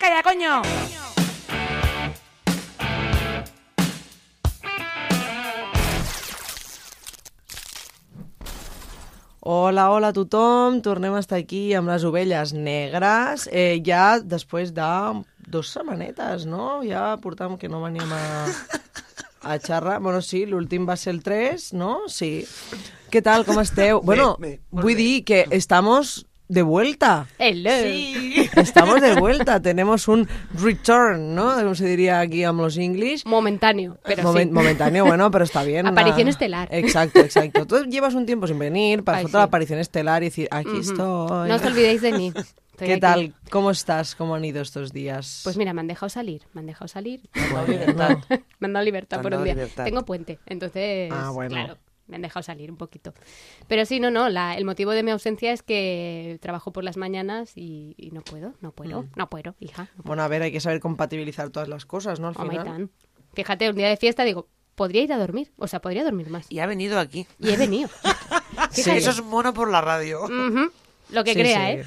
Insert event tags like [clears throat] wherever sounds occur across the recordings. ya, coño. Hola, hola a tothom, tornem a estar aquí amb les ovelles negres, eh, ja després de dues setmanetes, no? Ja portàvem que no veníem a, a xerrar. Bueno, sí, l'últim va ser el 3, no? Sí. Què tal, com esteu? Bueno, bé, vull dir que estamos de vuelta. Hello. Estamos de vuelta, tenemos un return, ¿no? Como se diría aquí amb los English. Momentáneo, pero Momen- sí. Momentáneo, [laughs] bueno, pero está bien. Aparición estelar. Exacto, exacto. Tú llevas un tiempo sin venir, para Ay, nosotros la sí. aparición estelar y decir, aquí estoy. No os [laughs] olvidéis de mí. Estoy ¿Qué aquí. tal? ¿Cómo estás? ¿Cómo han ido estos días? Pues mira, me han dejado salir, me han dejado salir. bueno, [laughs] Me han Te dado libertad han por dado un día. libertad. Tengo puente, entonces, Ah, bueno. claro, me han dejado salir un poquito. Pero sí, no, no, la- el motivo de mi ausencia es que trabajo por las mañanas y, y no puedo, no puedo, Mm. no puedo, hija. no bueno, a ver, hay que saber compatibilizar todas las cosas, ¿no? Al puedo. Oh, my final. tan. Fíjate, un día de fiesta digo, podría ir a dormir, o sea, podría dormir más. Y ha venido aquí. Y he [laughs] venido. Sí. Eso es mono por la radio. Ujú, Lo que Sí, crea, sí. ¿eh?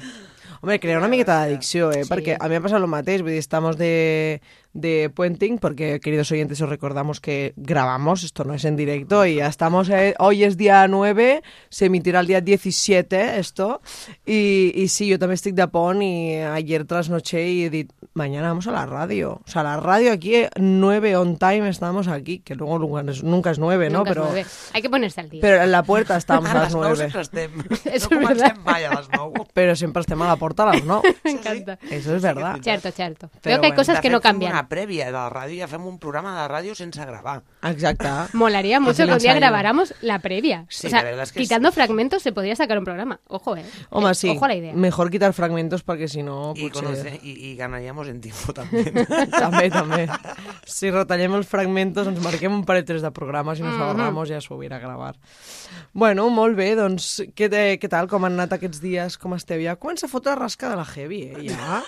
Home, crea una miqueta d'adicció, eh? Sí. Porque a mí me ha pasado lo mateix, vull dir, estamos de, de puenting, porque, queridos oyentes, os recordamos que grabamos, esto no es en directo, y ya estamos, eh, hoy es día 9, se emitirá el día 17, esto, y, y sí, yo también estoy de pon, y ayer trasnoché y he dit, mañana vamos a la radio, o sea, la radio aquí, eh, 9 on time, estamos aquí, que luego nunca es, nunca es 9, ¿no? Nunca es pero, nueve. Hay que ponerse al día. pero en la puerta estamos A a las les 9 9. sempre estem. [laughs] és no comencem verdad. mai a les 9. Pero siempre estemos a la puerta a las 9. [laughs] Me encanta. Eso es verdad. Cierto, cierto. Pero Veo que hay bueno, cosas que no De fet, fem cambian. una prèvia de la ràdio, ja fem un programa de ràdio sense gravar. Exacto. Molaría mucho Hacen que un día ensayo. grabáramos la previa. Sí, o sea, la verdad es que quitando fragmentos se podría sacar un programa. Ojo, eh. O más Eh, sí, Ojo a la idea. mejor quitar fragmentos porque si Oh, no... I, También, conoce, i, i ganaríamos en tiempo també. [laughs] [laughs] també, també. Si retallem els fragmentos, ens marquem un parell tres de programes i nos Mm-hmm. agarramos i ja s'ho a gravar. Bueno, molt bé, doncs què, eh, què tal? Com han anat aquests dies? Com esteu? Ja comença a fotre rasca de la heavy, eh? [laughs] Ja.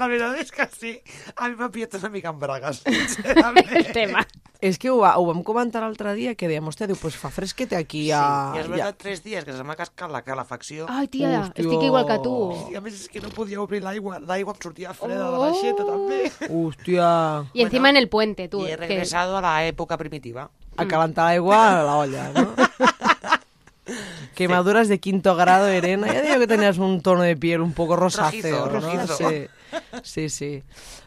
la veritat és que sí. A mi m'ha pillat una mica en [laughs] bragues, [laughs] El sincerament. tema. És que ho, va, ho vam comentar l'altre dia que dèiem, hòstia, diu, pues fa fresquete aquí a... Ah, I has passat 3 dies que se m'ha cascat la calefacció. Ay, tía, Hostia. estoy que igual que tú. I a més és que no podia obrir l'aigua. L'aigua em sortia freda Oh. de l'aixeta, també. Hòstia, Y encima en el puente, tú. I he que- regresado a la època primitiva. a calentar l'aigua a la olla, [laughs] no? Quemaduras de quinto grado, Elena. Ya digo que tenías un tono de piel un poco rosáceo, Rojizo, no? rojizo. Sí, sí, sí.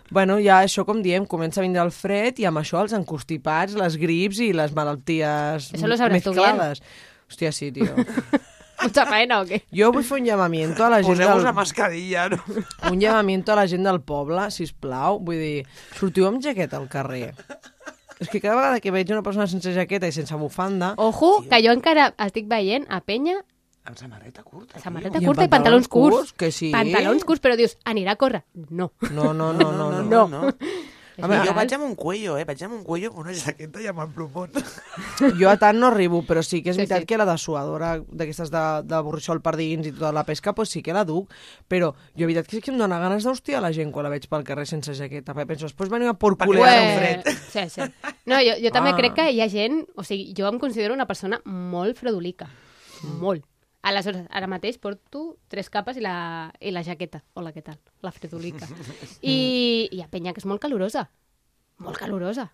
Bueno, ja això, com diem, comença a vindre el fred i amb això els encostipats, les grips i les malalties Eso lo sabràs tu mezclades. Hòstia, sí, tio. [laughs] Mucha faena o qué. Jo vull fer un llamamiento a la gent Poseu-vos del... la mascarilla, no? Un llamamiento a la gent del poble, si us plau. Vull dir, sortiu amb jaqueta al carrer. És que cada vegada que veig una persona sense jaqueta i sense bufanda... Ojo, cayó en cara a Stick Bayen, a Peña, Amb samarreta curta, samarreta I en curta y pantalons pantalones curts, curts. que sí. Pantalones curts, pero Dios, anirá a corra. No. No, no, no, no, no. no, no. És A veure, jo legal. vaig amb un cuello, eh? Vaig amb un cuello amb una jaqueta i amb el plomón. Jo a tant no arribo, però sí que és Sí, veritat sí. que la dessuadora d'aquestes de, de borrixol per dins i tota la pesca, pues sí que la duc, però jo a veritat que sí que em dóna ganes d'hostiar la gent quan la veig pel carrer sense jaqueta, perquè penso, després veniu a por Perquè culer. Pues- ara un fred. Sí, sí. No, jo, jo també Ah. crec que hi ha gent... O sigui, jo em considero una persona molt freudulica. Molt. Aleshores, ara mateix porto tres capes i la, i la jaqueta. Hola, què tal? La fredulica. I hi ha penya que és molt calorosa. Molt calorosa.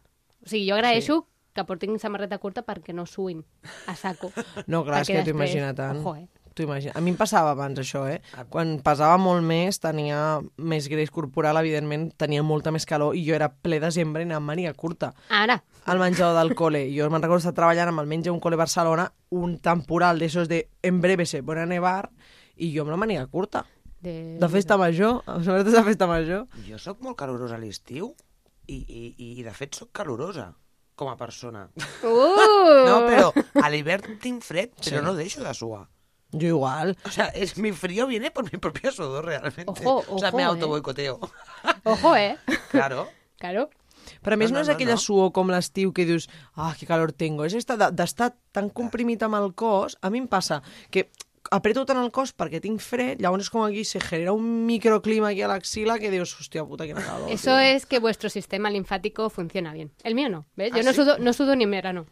O sigui, jo agraeixo sí. que portin samarreta curta perquè no suïn a saco. No, clar, és que Perquè t'ho després- imagina tant. Ojo, eh? T'ho imagina. A mi em passava abans això, eh? Quan pesava molt més, tenia més greix corporal, evidentment, tenia molta més calor i jo era ple desembre i anava amb màniga curta. Ara, al menjador del col·le. Jo me'n recordo estar treballant amb el menja un col·le Barcelona, un temporal d'esos de en breve se pone a nevar, i jo amb la màniga curta. de... De festa major, sobretot de festa major. [laughs] Jo sóc molt calorosa a l'estiu i, i, i, i de fet sóc calorosa com a persona. Uh! [laughs] No, però a l'hivern tinc fred, però no deixo de suar. Jo igual. O sea, es, mi frío viene por mi propio sudor realmente. Ojo, o sea, me ojo, eh. [laughs] autoboicoteo. Ojo, eh? Claro. Claro. Però a més No, no, no, és no, aquella no. suor com l'estiu que dius ah, que calor tengo. És esta de- d'estar tan comprimit amb el cos. A mi em passa que apreto tant el cos perquè tinc fred, llavors és com aquí se genera un microclima aquí a l'axila que dius, hòstia puta, quina calor. Ah, Eso es que vuestro sistema linfático funciona bien. El mío no, ¿ves? Yo no, sudo, no sudo ni en verano.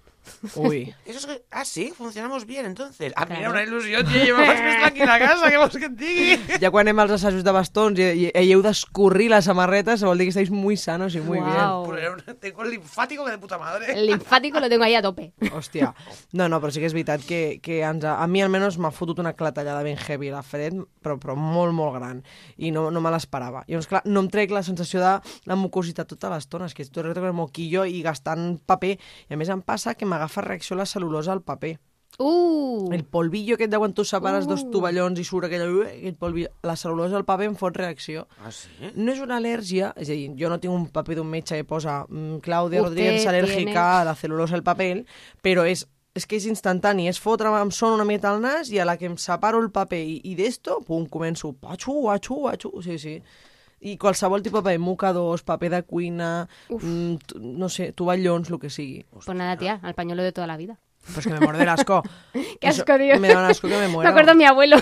Uy. Eso es que- Ah, sí, funcionamos bien, entonces. Ah, mira, Claro. una il·lusió, tio, llevamos més tranquil a casa, que vols que et digui? [laughs] Ja quan anem als assajos de bastons i, i, i heu d'escorrir les samarretes, vol dir que esteu muy sanos i muy bien. Guau. Pues era una- Tengo el linfático que de puta madre. El linfático lo tengo ahí a tope. Hòstia, no, no, però sí que és veritat que, que ens ha, a mi almenys m'ha fotut una clatellada ben heavy la fred, però, però molt, molt gran, i no, no me l'esperava. Llavors, clar, no em trec la sensació de la mucositat tota l'estona, és que tot el rato con el moquillo i gastant paper, i a més em passa que m'agafa reacció a la cel·lulosa al paper. Uh! El polvillo aquest de quan tu separes dos tovallons i surt aquella... Aquest polvillo, la cel·lulosa al paper em fot reacció. Ah, sí? No és una al·lèrgia, és a dir, jo no tinc un paper d'un metge que posa mm, Claudia Usted Rodríguez tiene- alèrgica a la cel·lulosa al paper, però és, és que és instantani, és fotre'm em sona una mica al nas i a la que em separo el paper i, i d'esto, pum, començo, patxu, atxu, atxu, sí, sí. I qualsevol tipus de paper, mocadors, paper de cuina, mm, t- no sé, tovallons, el que sigui. Pues nada, tía, al pañuelo de toda la vida. Però és que me morde l'asco. [laughs] Qué asco, tío. Me da un asco que me muero. [laughs] Me acuerdo de mi abuelo.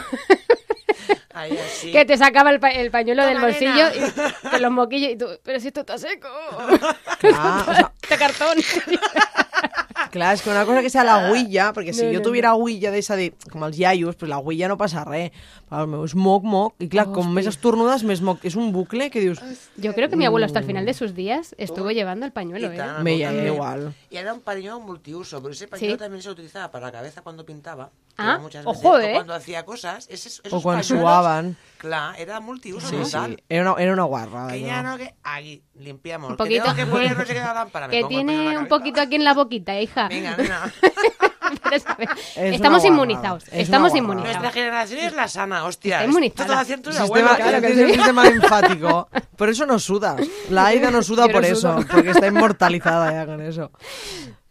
Ahí, así. Que te sacaba el, pa- el pañuelo del Toma, bolsillo nena. [laughs] y con los moquillos y tú, pero si esto está seco. Clar, Ah, o sea, [laughs] Este [laughs] cartón. Clar, és que una cosa que sea la huilla, perquè si No, jo no, tuviera huilla d'esa de, com els iaios, pues la huilla no passa res. Però el meu és moc, moc, i clar, com més estornudes, més moc. És un bucle que dius... Yo creo que mi abuelo hasta el Uh. final de sus días estuvo llevando el pañuelo, Y ¿eh? tan, Me puta llama madre. igual. Y era un pañuelo multiuso, pero ese pañuelo Sí. también se utilizaba para la cabeza cuando pintaba. que Ah, era muchas veces, ojo, o eh. cuando hacía cosas. esos- esos cuando pañuelos, sudaban. Claro, era multiuso Sí, sí, total. era una, era una guarra. Que ya no, que aquí limpiamos. Un Que tengo poquito. que poner no sé qué de la [laughs] lámpara. me Que pongo el pañuelo en tiene la un cabeza. poquito aquí en la boquita, hija. Venga, nena. [laughs] Pero, ¿sabes? una Estamos guarrada. inmunizados. Es una guarrada. estamos Nuestra inmunizados. generación es la sana, hostia. Está inmunizada. Toda la ciento de abuelo. Sistema, Claro que es un sistema linfático. Por eso no suda. La Aida no suda Yo no por eso, sudo. porque está inmortalizada ya con eso.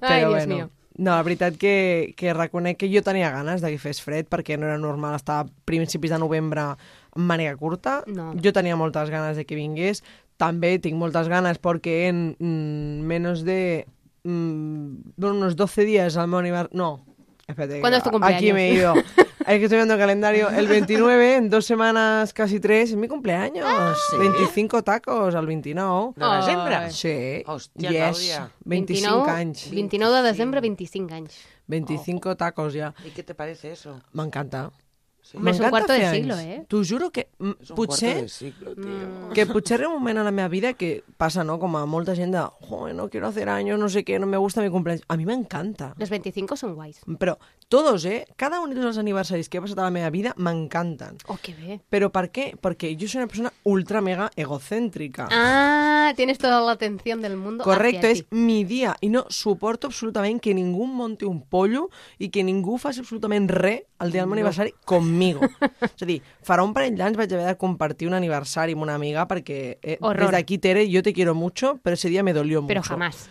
Ai, Dios bueno, mío. No, la veritat que, que reconec que jo tenia ganes de que fes fred perquè no era normal estar a principis de novembre amb màniga curta. No. Jo tenia moltes ganes de que vingués. També tinc moltes ganes perquè en mm, menos de mm, unos 12 días al meu aniversario... No, espérate. que ¿Cuándo es tu cumpleaños? Aquí me he [laughs] ido. Es que estoy viendo el calendario. El 29, en dos semanas, casi tres, es mi cumpleaños. Ah, 25 tacos al 29. No, la Ai. sembra. Sí, Hòstia, yes, Clàudia. 25 anys. 29 de desembre, 25 años. 25 tacos ya. ¿Y qué te parece eso? M'encanta. Sí. Hombre, és un M'encanta cuarto de fer siglo, anys. eh? T'ho este juro que mm, Es un cuarto potser... de siglo, tío. Mm. Que potser era un moment a la meva vida que passa, no?, com a molta gent de «Joder, no quiero hacer años, no sé qué, no me gusta mi cumpleaños». A mi m'encanta. Los 25 son guays. Però todos, eh? Cada un dels aniversaris que he passat a la meva vida m'encanten. Oh, qué bien. Però per què? Perquè jo soy una persona ultra mega egocéntrica. Ah, tienes toda la atención del mundo. Correcto, hacia es ti. mi día y no suporto absolutamente que ningún monte un pollo y que ningú faci absolutament res el dia del meu aniversari [laughs] conmigo. és a dir, farà un parell d'anys vaig haver de compartir un aniversari amb una amiga perquè eh, Horror. des d'aquí, Tere, yo te quiero mucho, pero ese día me dolió Pero mucho. jamás.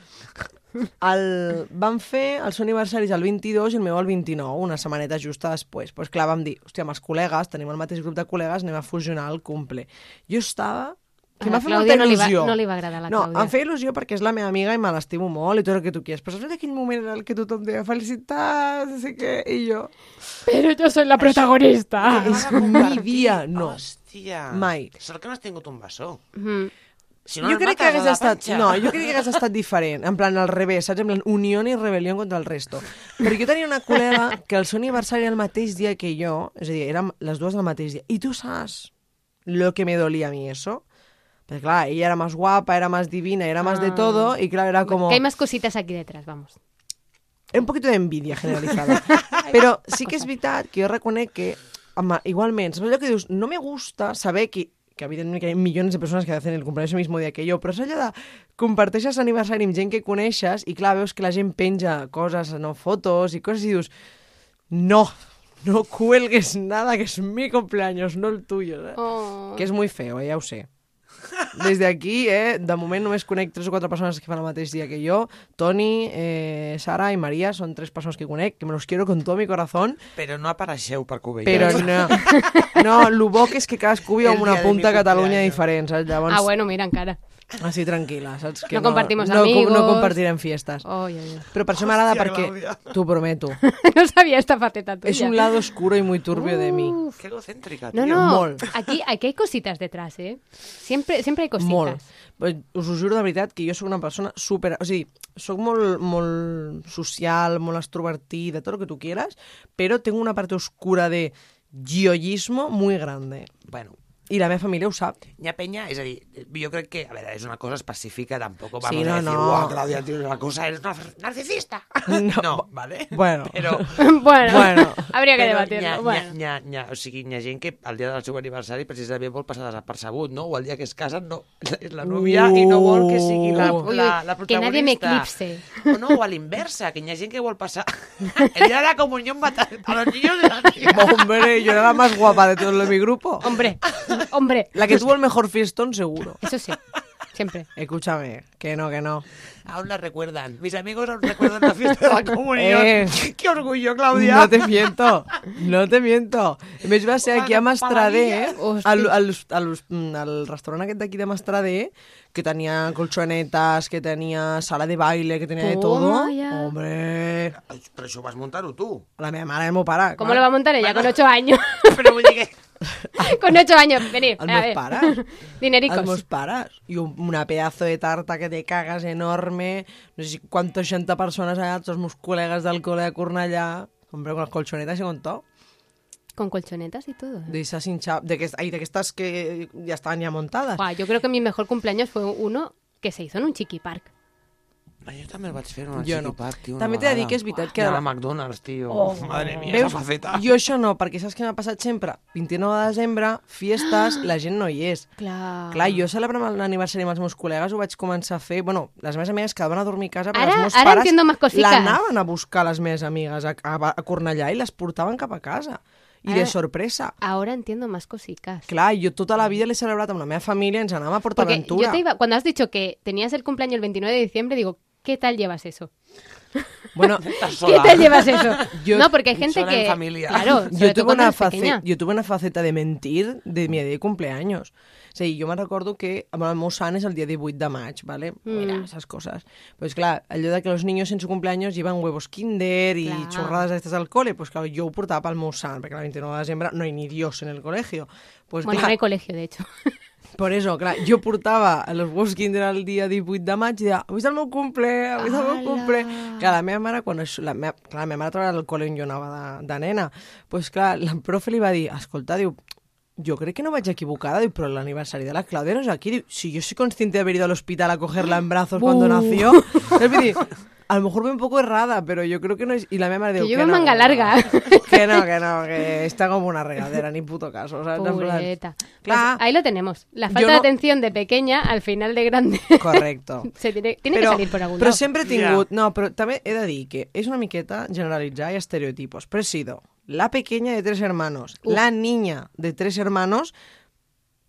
El, van fer els seus aniversaris el 22 i el meu el 29, una setmaneta justa després. Pues clar, vam dir, hòstia, amb els col·legues, tenim el mateix grup de col·legues, anem a fusionar el cumple. Jo estava... Que A m'ha la fet molta Clàudia no li va- il·lusió. no li va agradar la no, Clàudia. em feia il·lusió perquè és la meva amiga i me l'estimo molt i tot el que tu quieres. Però saps en aquell moment en el que tothom deia felicitats, no sé què, i jo... Pero yo soy la protagonista. Que vas a [laughs] mi compartir. dia, no. Hòstia. Mai. Sort que no has tingut un bessó. Mm. Si no, jo nos crec que matas a hagués la estat... panxa. No, jo crec que hagués estat diferent. En plan, al revés, saps? En plan, unió i rebel·lió contra el resto. Però jo tenia una col·lega que el seu aniversari era el mateix dia que jo, és a dir, érem les dues del mateix dia. I tu saps lo que me dolía a mi eso? Perquè, clar, ella era más guapa, era más divina, era más de todo, y claro, era como... Ah. Que hay más cositas aquí detrás, vamos. un poquito de envidia generalizada. Però sí que és veritat que jo reconec que, home, igualment, saps allò que dius, no me gusta saber que que evidentment que hi ha milions de persones que hacen el cumpleaños el mismo dia que jo, però és allò de comparteixes aniversari amb gent que coneixes i clar, veus que la gent penja coses, no fotos i coses i dius no, no cuelgues nada que es mi cumpleaños, no el tuyo. Eh? Oh. Que és muy feo, eh? ja ho sé. Des d'aquí, eh, de moment només conec tres o quatre persones que fan el mateix dia que jo. Toni, eh, Sara i Maria són tres persones que conec, que me los quiero con todo mi corazón, [laughs] Però no apareixeu per que ho veieu. però no. [laughs] No, el bo que és que cadascú viu El amb una dia de mi punta a Catalunya cumpleaños. diferent, saps? Llavors, Ah, bueno, mira, encara. Així tranquil·la, saps? Que No compartimos no, co- No amigos. compartirem fiestes. Ai, ai, ai. Però per això m'agrada Hòstia, perquè... Claudia. T'ho [laughs] prometo. No sabia esta faceta tuya. És un lado oscuro y muy turbio de mí. Qué egocéntrica, tío. No, no, Molt. aquí, aquí hay cositas detrás, ¿eh? Siempre, siempre hay cositas. [laughs] Molt. Però Us ho juro de veritat que jo sóc una persona super... O sigui, sóc molt, molt social, molt extrovertida, tot el que tu quieras, però tengo una parte oscura de giollismo muy grande. Bueno, I la meva família ho sap. Nya Peña, és a dir, jo crec que, a veure, és una cosa específica, tampoc vamos Sí, a no, decir, no. "Buah, Claudia, tienes una cosa, eres una narcisista. [laughs] No. No, vale? Bueno. Però, Bueno, Bueno, [laughs] habría que però debatirlo. Hi ha, bueno. hi, ha, hi, ha, o sigui, hi ha gent que el dia del seu aniversari precisament vol passar desapercebut, no? O el dia que es casen no, és la núvia i no vol que sigui la, Ui, Uh. ui, la, la protagonista. que nadie me eclipse. O no, o a l'inversa, que hi ha gent que vol passar [laughs] el dia de la comunió matar a los niños de la tía. Hombre, yo era la más guapa de todo lo de mi grupo. Hombre, hombre, La que tuvo el mejor fiestón, seguro. eso sí, siempre. Escúchame, que no, que no. Aún la recuerdan. Mis amigos aún recuerdan la fiesta [laughs] de la comunión. Eh. ¡Qué orgullo, Claudia! No te miento, no te miento. A més, va ser aquí a Mastrader, eh? Hòstia. Al, al, al, mm, al restaurant aquest d'aquí de Mastrader, que tenia colchonetes, que tenia sala de baile, que tenia de todo. Toma ya. Hombre, Ai, Però això ho vas muntar-ho tu. la meva mare i el meu pare. ¿Cómo lo va a montar ella? Con ocho años. Però vull dir que... Con ocho años, venid. Al a meus ver. [laughs] pares. Els meus Dinericos. pares. I un, una pedazo de tarta que te cagas enorme. No sé si quantos 60 persones allà, tots els meus col·legues del col·le de Cornellà. Hombre, con les colchonetes i con tot. Con colchonetas y todo. ¿eh? De esas hincha... De, que, ay, de que estas que ya estaban ya montadas. Guau, yo creo que mi mejor cumpleaños fue uno que se hizo en un chiqui park. Ah, Jo també el vaig fer en un Jo Chiqui no. Park, tio, una També t'he de dir vegada. que és veritat que- I a la McDonald's, tio. Oh. Madre mia, Veus? Veus? esa faceta. Jo això no, perquè saps què m'ha passat sempre? 29 de desembre, fiestes, la gent no hi és. Claro. Clar, jo celebrant el- l'aniversari amb els meus col·legues ho vaig començar a fer... Bueno, les meves amigues quedaven a dormir a casa, però Ara- els meus ara pares entiendo más cositas. l'anaven a buscar les meves amigues a, a, a Cornellà i les portaven cap a casa. I Ara- de sorpresa. Ahora entiendo más cositas. Clar, jo tota la vida l'he celebrat amb la meva família, ens anàvem a Porque PortAventura. yo te iba, cuando has dicho que tenías el cumpleaños el 29 de diciembre, digo, ¿qué tal llevas eso? [laughs] Bueno, Estàs ¿Qué sola. tal llevas eso? Yo- no, porque hay gente sola que. en familia. Claro, [laughs] sobre yo todo tuve, cuando una eres faceta, pequeña. yo tuve una faceta de mentir de mi día de cumpleaños. O sigui, jo me'n recordo que amb el meu sant és el dia 18 de maig, ¿vale? Mm. Era esas cosas. Pues clar, allò de que los niños en su cumpleaños llevan huevos kinder i Clar. xorrades aquestes al cole, pues claro, jo ho portava pel meu sant, perquè el 29 de desembre no hay ni Dios en el colegio. Pues Bueno, no clar, hay colegio, de hecho. per eso, clar, jo portava a los huevos kinder el dia 18 de maig i deia, avui és el meu cumple, avui és el meu Ala. cumple. Clar, la meva mare, quan això, la meva, clar, la meva mare treballava al col·le on jo anava de, de nena, doncs pues, clar, la profe li va dir, escolta, diu, jo crec que no vaig equivocada, diu, però l'aniversari de la Claudia no és aquí. Diu, si yo soy consciente de haber ido al hospital a cogerla en brazos cuando Buh. nació. Es decir, a lo mejor voy un poco errada, pero yo creo que no es... Y la mía me dijo, Que lleva manga larga. Que no, que no, que está como una regadera, ni puto caso. O sea, en plan- Pobreta. Clar. Pues ahí lo tenemos. La Ah. Yo falta de no- atención de pequeña al final de grande. [laughs] Correcto. Se tiene tiene que salir por algún però lado. sempre he tingut... No, però també he de dir que és una miqueta generalitzar i estereotipos, però he sido la pequeña de tres hermanos, la niña de tres hermanos,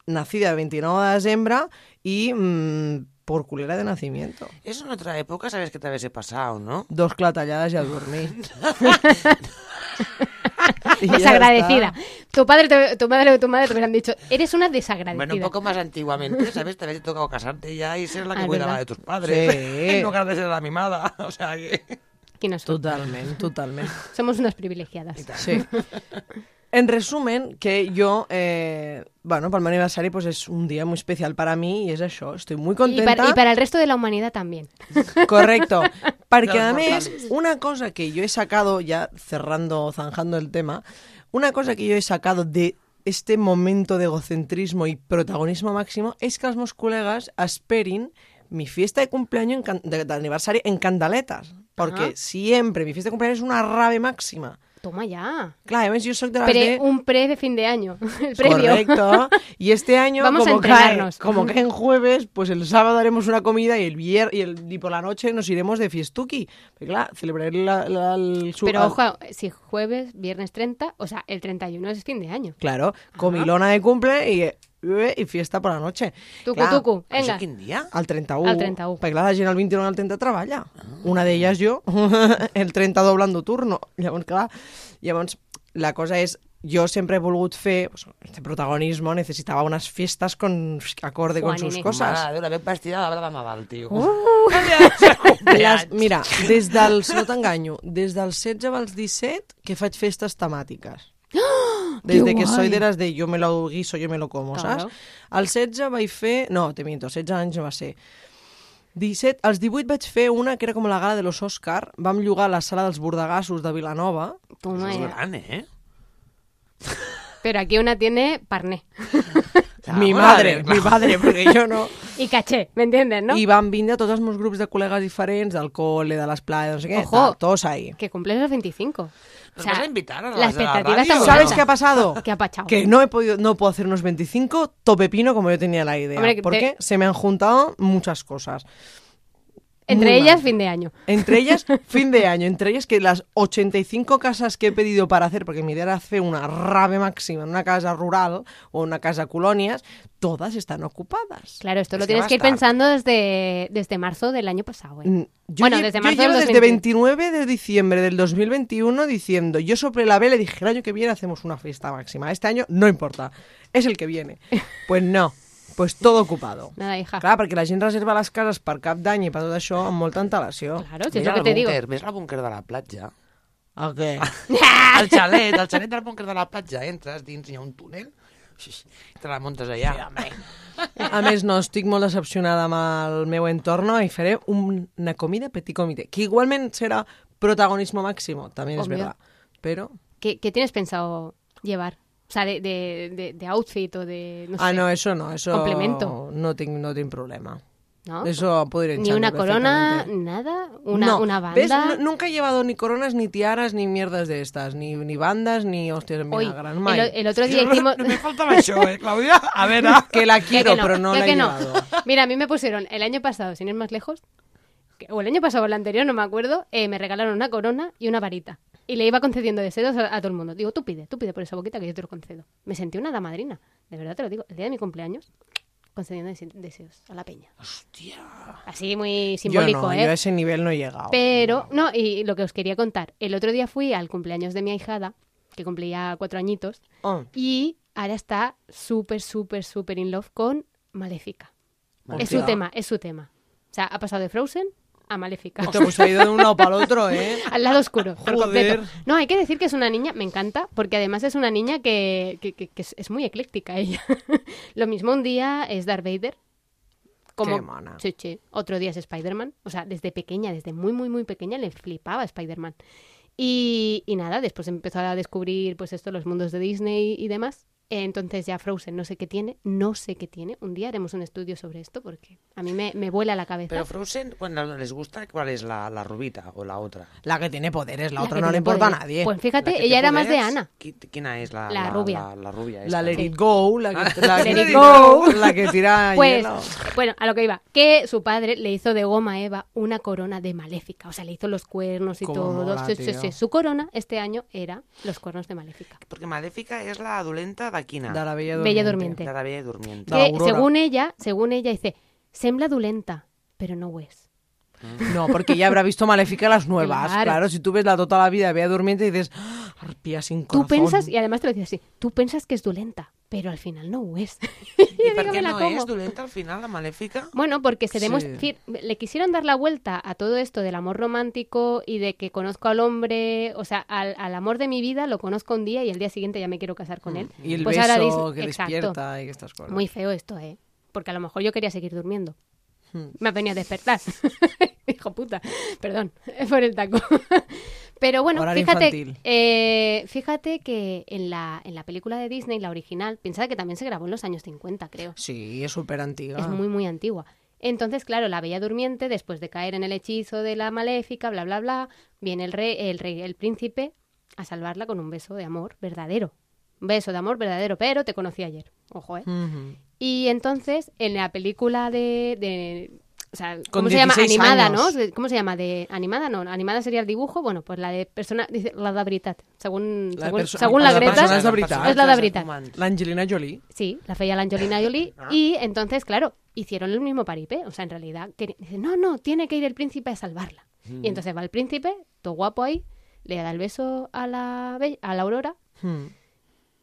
nacida el 29 de desembre y mm, por culera de nacimiento. Eso en otra época sabes que te habéis pasado, ¿no? Dos clatallades i a [laughs] dormir. [laughs] Y ya Desagradecida. está. Pues Tu padre, te- tu madre o tu madre te hubieran dicho, eres una desagradecida. Bueno, un poco más antiguamente, ¿sabes? Te habéis tocado casarte ya y ser la que Ah, es cuidaba verdad. de tus padres. [laughs] Sí. no que de ser la mimada. [laughs] O sea que... ¿Quiénes somos? Totalment, totalment. Somos unas privilegiadas. Sí. [laughs] En resumen, que yo, eh, bueno, para mi aniversario pues es un día muy especial para mí y es eso, estoy muy Y contenta. para, y para el resto de la humanidad también. Correcto. Porque Los además, mortales. una cosa que yo he sacado, ya cerrando, zanjando el tema, una cosa que yo he sacado de este momento de egocentrismo y protagonismo máximo es que los meus colegas esperin mi fiesta de cumpleaños, en can- de, de aniversario, en candaletas. Porque Ajá. siempre mi fiesta de cumpleaños es una rave máxima. Toma ya. Claro, además yo soy de las Pre- de- un pre de fin de año. [laughs] El previo. Correcto. Y [laughs] este año, Vamos a como, cae, entrenarnos. como cae en jueves, pues el sábado haremos una comida y el vier y, el, y por la noche nos iremos de fiestuki. Porque, claro, celebrar la- la- el su- Pero al- ojo, si jueves, viernes 30, o sea, el 31 es fin de año. Claro, comilona de cumple y, eh, y fiesta por la noche. Tucu, Clar, tucu, ¿Eso venga. quin dia? Al 31. Al 31. Perquè clar, la gent al 21 i al 30 treballa. Una [laughs] d'elles jo, el 30 doblando turno. Llavors, clar, llavors la cosa és jo sempre he volgut fer, pues, este protagonismo necessitava unes festes con, pues, acorde con Juan sus N. coses. Mare de Déu, la veu vestida d'arbre de Nadal, tio. Uh. [laughs] Les, mira, des dels, no t'enganyo, des dels 16 als 17 que faig festes temàtiques. Desde que soy de las de yo me lo guiso, yo me lo como, Ah, Claro. saps? Al 16 vaig fer... No, te miento, 16 anys va ser. 17, als 18 vaig fer una que era com la gala de los Òscar. Vam llogar a la sala dels bordegassos de Vilanova. Toma És ya. gran, eh? Pero aquí una tiene parné Ah, mi Vamos a madre, ver, mi madre, [laughs] perquè jo no. y caché, ¿me entiendes, no? I van vindre tots els meus grups de col·legues diferents, del col·le, de les plaies, no sé què, Ojo. tal, tots ahí. Que cumples los 25. Nos vas a invitar a las la de la expectativa radio, está muy ¿Sabes alta. qué ha pasado? ¿Qué ha pasado? Que no he podido, no puedo hacer unos 25 tope pino como yo tenía la idea. Hombre, que porque se me han juntado muchas cosas. Entre Muy ellas, mal. fin de año. Entre [laughs] ellas, fin de año, entre ellas que las 85 casas que he pedido para hacer, porque mi idea era hacer una rave máxima en una casa rural o una casa colonias, todas están ocupadas. Claro, esto Es lo que tienes vas que ir tarde. pensando desde, desde marzo del año pasado. ¿eh? Mm, Yo bueno, lle- desde yo marzo llevo del desde 2020. 29 de diciembre del 2021 diciendo, yo soplé la vela y dije, el año que viene hacemos una fiesta máxima. Este año no importa, es el que viene. [laughs] Pues no, pues todo ocupado. Nada, hija. Clar, perquè la gent reserva les cases per cap d'any i per tot això amb molta antelació. Claro, si es Mira lo que el te digo. búnquer, ves el búnquer de la platja. Ah, El què? [laughs] Ah. El xalet, el xalet del búnquer de la platja. Entres dins, hi ha un túnel, [laughs] te la muntes allà. Sí, home. A més, no, estic molt decepcionada amb el meu entorn i faré un- una comida petit comité, que igualment serà protagonismo máximo, també és Obvio. verdad. Però... ¿Qué, qué tienes pensado llevar? O sea, de, de, de- de outfit o de. No Ah, sé. no, eso no, eso Complemento. no tinc, no tinc problema. ¿No? Eso puedo ir Ni echando una corona, perfectamente. nada. Una, No, una banda. ¿ves? No- nunca he llevado ni coronas, ni tiaras, ni mierdas de estas, ni, ni bandas, ni hostias en Hoy, vinagre, el, mai. el otro día hicimos. No me faltaba això, eh, Claudia? A veure... Que la Creo quiero, que no, pero no creo la que he no. llevado. [laughs] Mira, a mí me pusieron el año pasado, sin ir más lejos, que- o el año pasado o el anterior, no me acuerdo, eh, me regalaron una corona y una varita. Y le iba concediendo deseos a, a todo el mundo. Digo, tú pide, tú pide por esa boquita que yo te lo concedo. Me sentí una damadrina, de verdad te lo digo. El día de mi cumpleaños, concediendo dese- deseos a la peña. Hostia. Así muy simbólico, yo no, ¿eh? Yo a ese nivel no he llegado. Pero, no, y lo que os quería contar. El otro día fui al cumpleaños de mi ahijada, que cumplía cuatro añitos, Oh, y ahora está súper, súper, súper in love con Maléfica. Vale. Es su Hostia. tema, es su tema. O sea, ha pasado de Frozen a [laughs] Maléfica. hostia, pues ha ido de un lado para el otro, [laughs] ¿eh? Al lado oscuro, por Joder. completo. No, hay que decir que es una niña, me encanta, porque además es una niña que, que- que- que es- es muy ecléctica ella. [laughs] Lo mismo un día es Darth Vader. Como, Qué mona. Sí, sí. Otro día es Spider-Man. O sea, desde pequeña, desde muy, muy, muy pequeña le flipaba Spider-Man. Y, y nada, después empezó a descubrir pues esto, los mundos de Disney y demás. Entonces ya Frozen no sé qué tiene, no sé qué tiene. Un día haremos un estudio sobre esto porque a mí me, me vuela la cabeza. Pero Frozen, cuando les gusta, ¿cuál es la, la rubita o la otra? La que tiene poderes, la, La otra que no le tiene importa a poderes. nadie. Pues La fíjate, que ella era más de poderes- Ana. qui- ¿Quién es la, La rubia. La, la rubia la esta? Let Sí. It Go, [laughs] la que, la, Let It Go. la que tira [laughs] Pues, hielo. bueno, a lo que iba, que su padre le hizo de goma a Eva una corona de Maléfica, o sea, le hizo los cuernos y Cómo todo. mola, Sí, sí, tío. sí. Su corona este año era los cuernos de Maléfica. Porque Maléfica es la dolenta d'Aquina. De la Bella Durmiente. Bella De Durmiente. la Bella Durmiente. De la Que, Aurora. según ella, según ella dice, sembla dolenta, pero no ho és. No, porque ya habrá visto Maléfica las nuevas. Claro. Claro. si tú ves la toda la vida de Bella Durmiente y dices, "Ah, arpía sin corazón. Mm. Tú piensas, y además te lo dice así, tú piensas que es dolenta, pero al final no ho és. [laughs] ¿Y Yo por digo, qué "Me la no como". es dolenta al final la Maléfica? Bueno, porque se Sí. demuestra, le quisieron dar la vuelta a todo esto del amor romántico y de que conozco al hombre, o sea, al, al amor de mi vida lo conozco un día y el día siguiente ya me quiero casar con él. Mm. Y el Pues beso ahora que dice- Exacto. despierta y que estas cosas. Muy feo esto, ¿eh? Porque a lo mejor yo quería seguir durmiendo. Mm. Me ha venido a despertar. [laughs] Hijo puta, perdón, [laughs] por el taco. Pero bueno, Horario fíjate, infantil. eh, fíjate que en la, en la película de Disney, la original, pensaba que también se grabó en los años 50, creo. Sí, es súper antigua. Es muy, muy antigua. Entonces, claro, la Bella Durmiente, después de caer en el hechizo de la maléfica, bla, bla, bla, viene el rey, el rey, el príncipe, a salvarla con un beso de amor verdadero. Un beso de amor verdadero, pero te conocí ayer. Ojo, ¿eh? Ujú. Y entonces, en la película de... de- o sea, Con ¿cómo se llama? 16 Animada, años. ¿no? ¿Cómo se llama? De animada, no. Animada sería el dibujo. Bueno, pues la de persona, dice la de veritat. Según, La de según, perso- según la la de Greta, persones de veritat. és la de veritat. La Ah. Angelina Jolie. Sí, la feia la Angelina Jolie. Y entonces, claro, hicieron el mismo paripé. O sea, en realidad, que- dice, no, no, tiene que ir el príncipe a salvarla. Mm. Y entonces va el príncipe, todo guapo ahí, le da el beso a la, be- a la Aurora Hmm.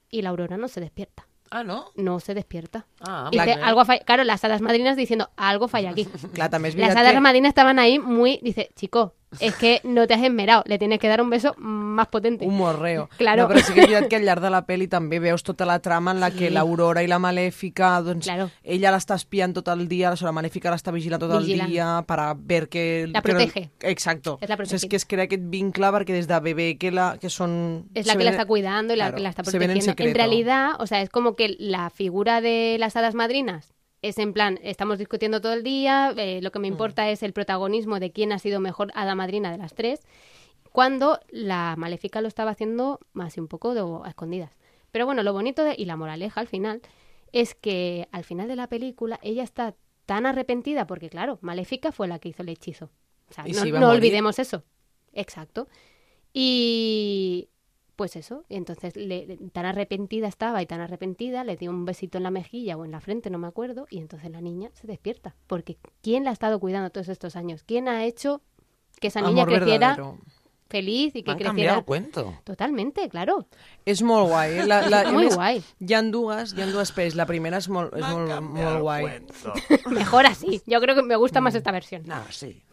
y la Aurora no se despierta. Ah, no? No se despierta. Ah, Y vale. dice, algo ha fallado. Claro, las hadas madrinas diciendo, algo falla aquí. Clar, també és Las veritat hadas que- madrinas estaban ahí muy. Dice, chico, es que no te has esmerado. Le tienes que dar un beso más potente. un morreo. [laughs] Claro. No, però sí que és veritat que al llarg de la pel·li també veus tota la trama en la que l'Aurora i la Malèfica, doncs, Claro. ella l'està espiant tot el dia, la Sora Malèfica l'està vigilant tot Vigilant. el dia per a veure que... La que no- protege. Exacto. És la O sigui, protegida. que es crea aquest vincle perquè des de bebè que, la, que són... Es la se que la ven- está cuidando y la Claro, que la está se ven en protegiendo. En, secreto. realidad, o sea, es como que la figura de las hadas madrinas es en plan, estamos discutiendo todo el día, eh, lo que Mm. me importa es el protagonismo de quién ha sido mejor hada madrina de las tres, cuando la maléfica lo estaba haciendo más y un poco de, a escondidas. Pero bueno, lo bonito de- y la moraleja al final es que al final de la película ella está tan arrepentida porque, claro, Maléfica fue la que hizo el hechizo. O sea, Y no, se iba a no morir. olvidemos eso. Exacto. Y pues eso, entonces le- le- tan arrepentida estaba y tan arrepentida, le dio un besito en la mejilla o en la frente, no me acuerdo, y entonces la niña se despierta. Porque ¿quién la ha estado cuidando todos estos años? ¿Quién ha hecho que esa niña Amor creciera verdadero. feliz y que M'han canviat creciera? el cuento. Totalmente, claro. És molt guai. Eh? La, [laughs] la, Muy a més, guai. Hi han dues, hi han dues pel·lis. La primera és molt, és molt, molt guai. Mejor así. Yo creo que me gusta más esta versión. No, Ah, sí.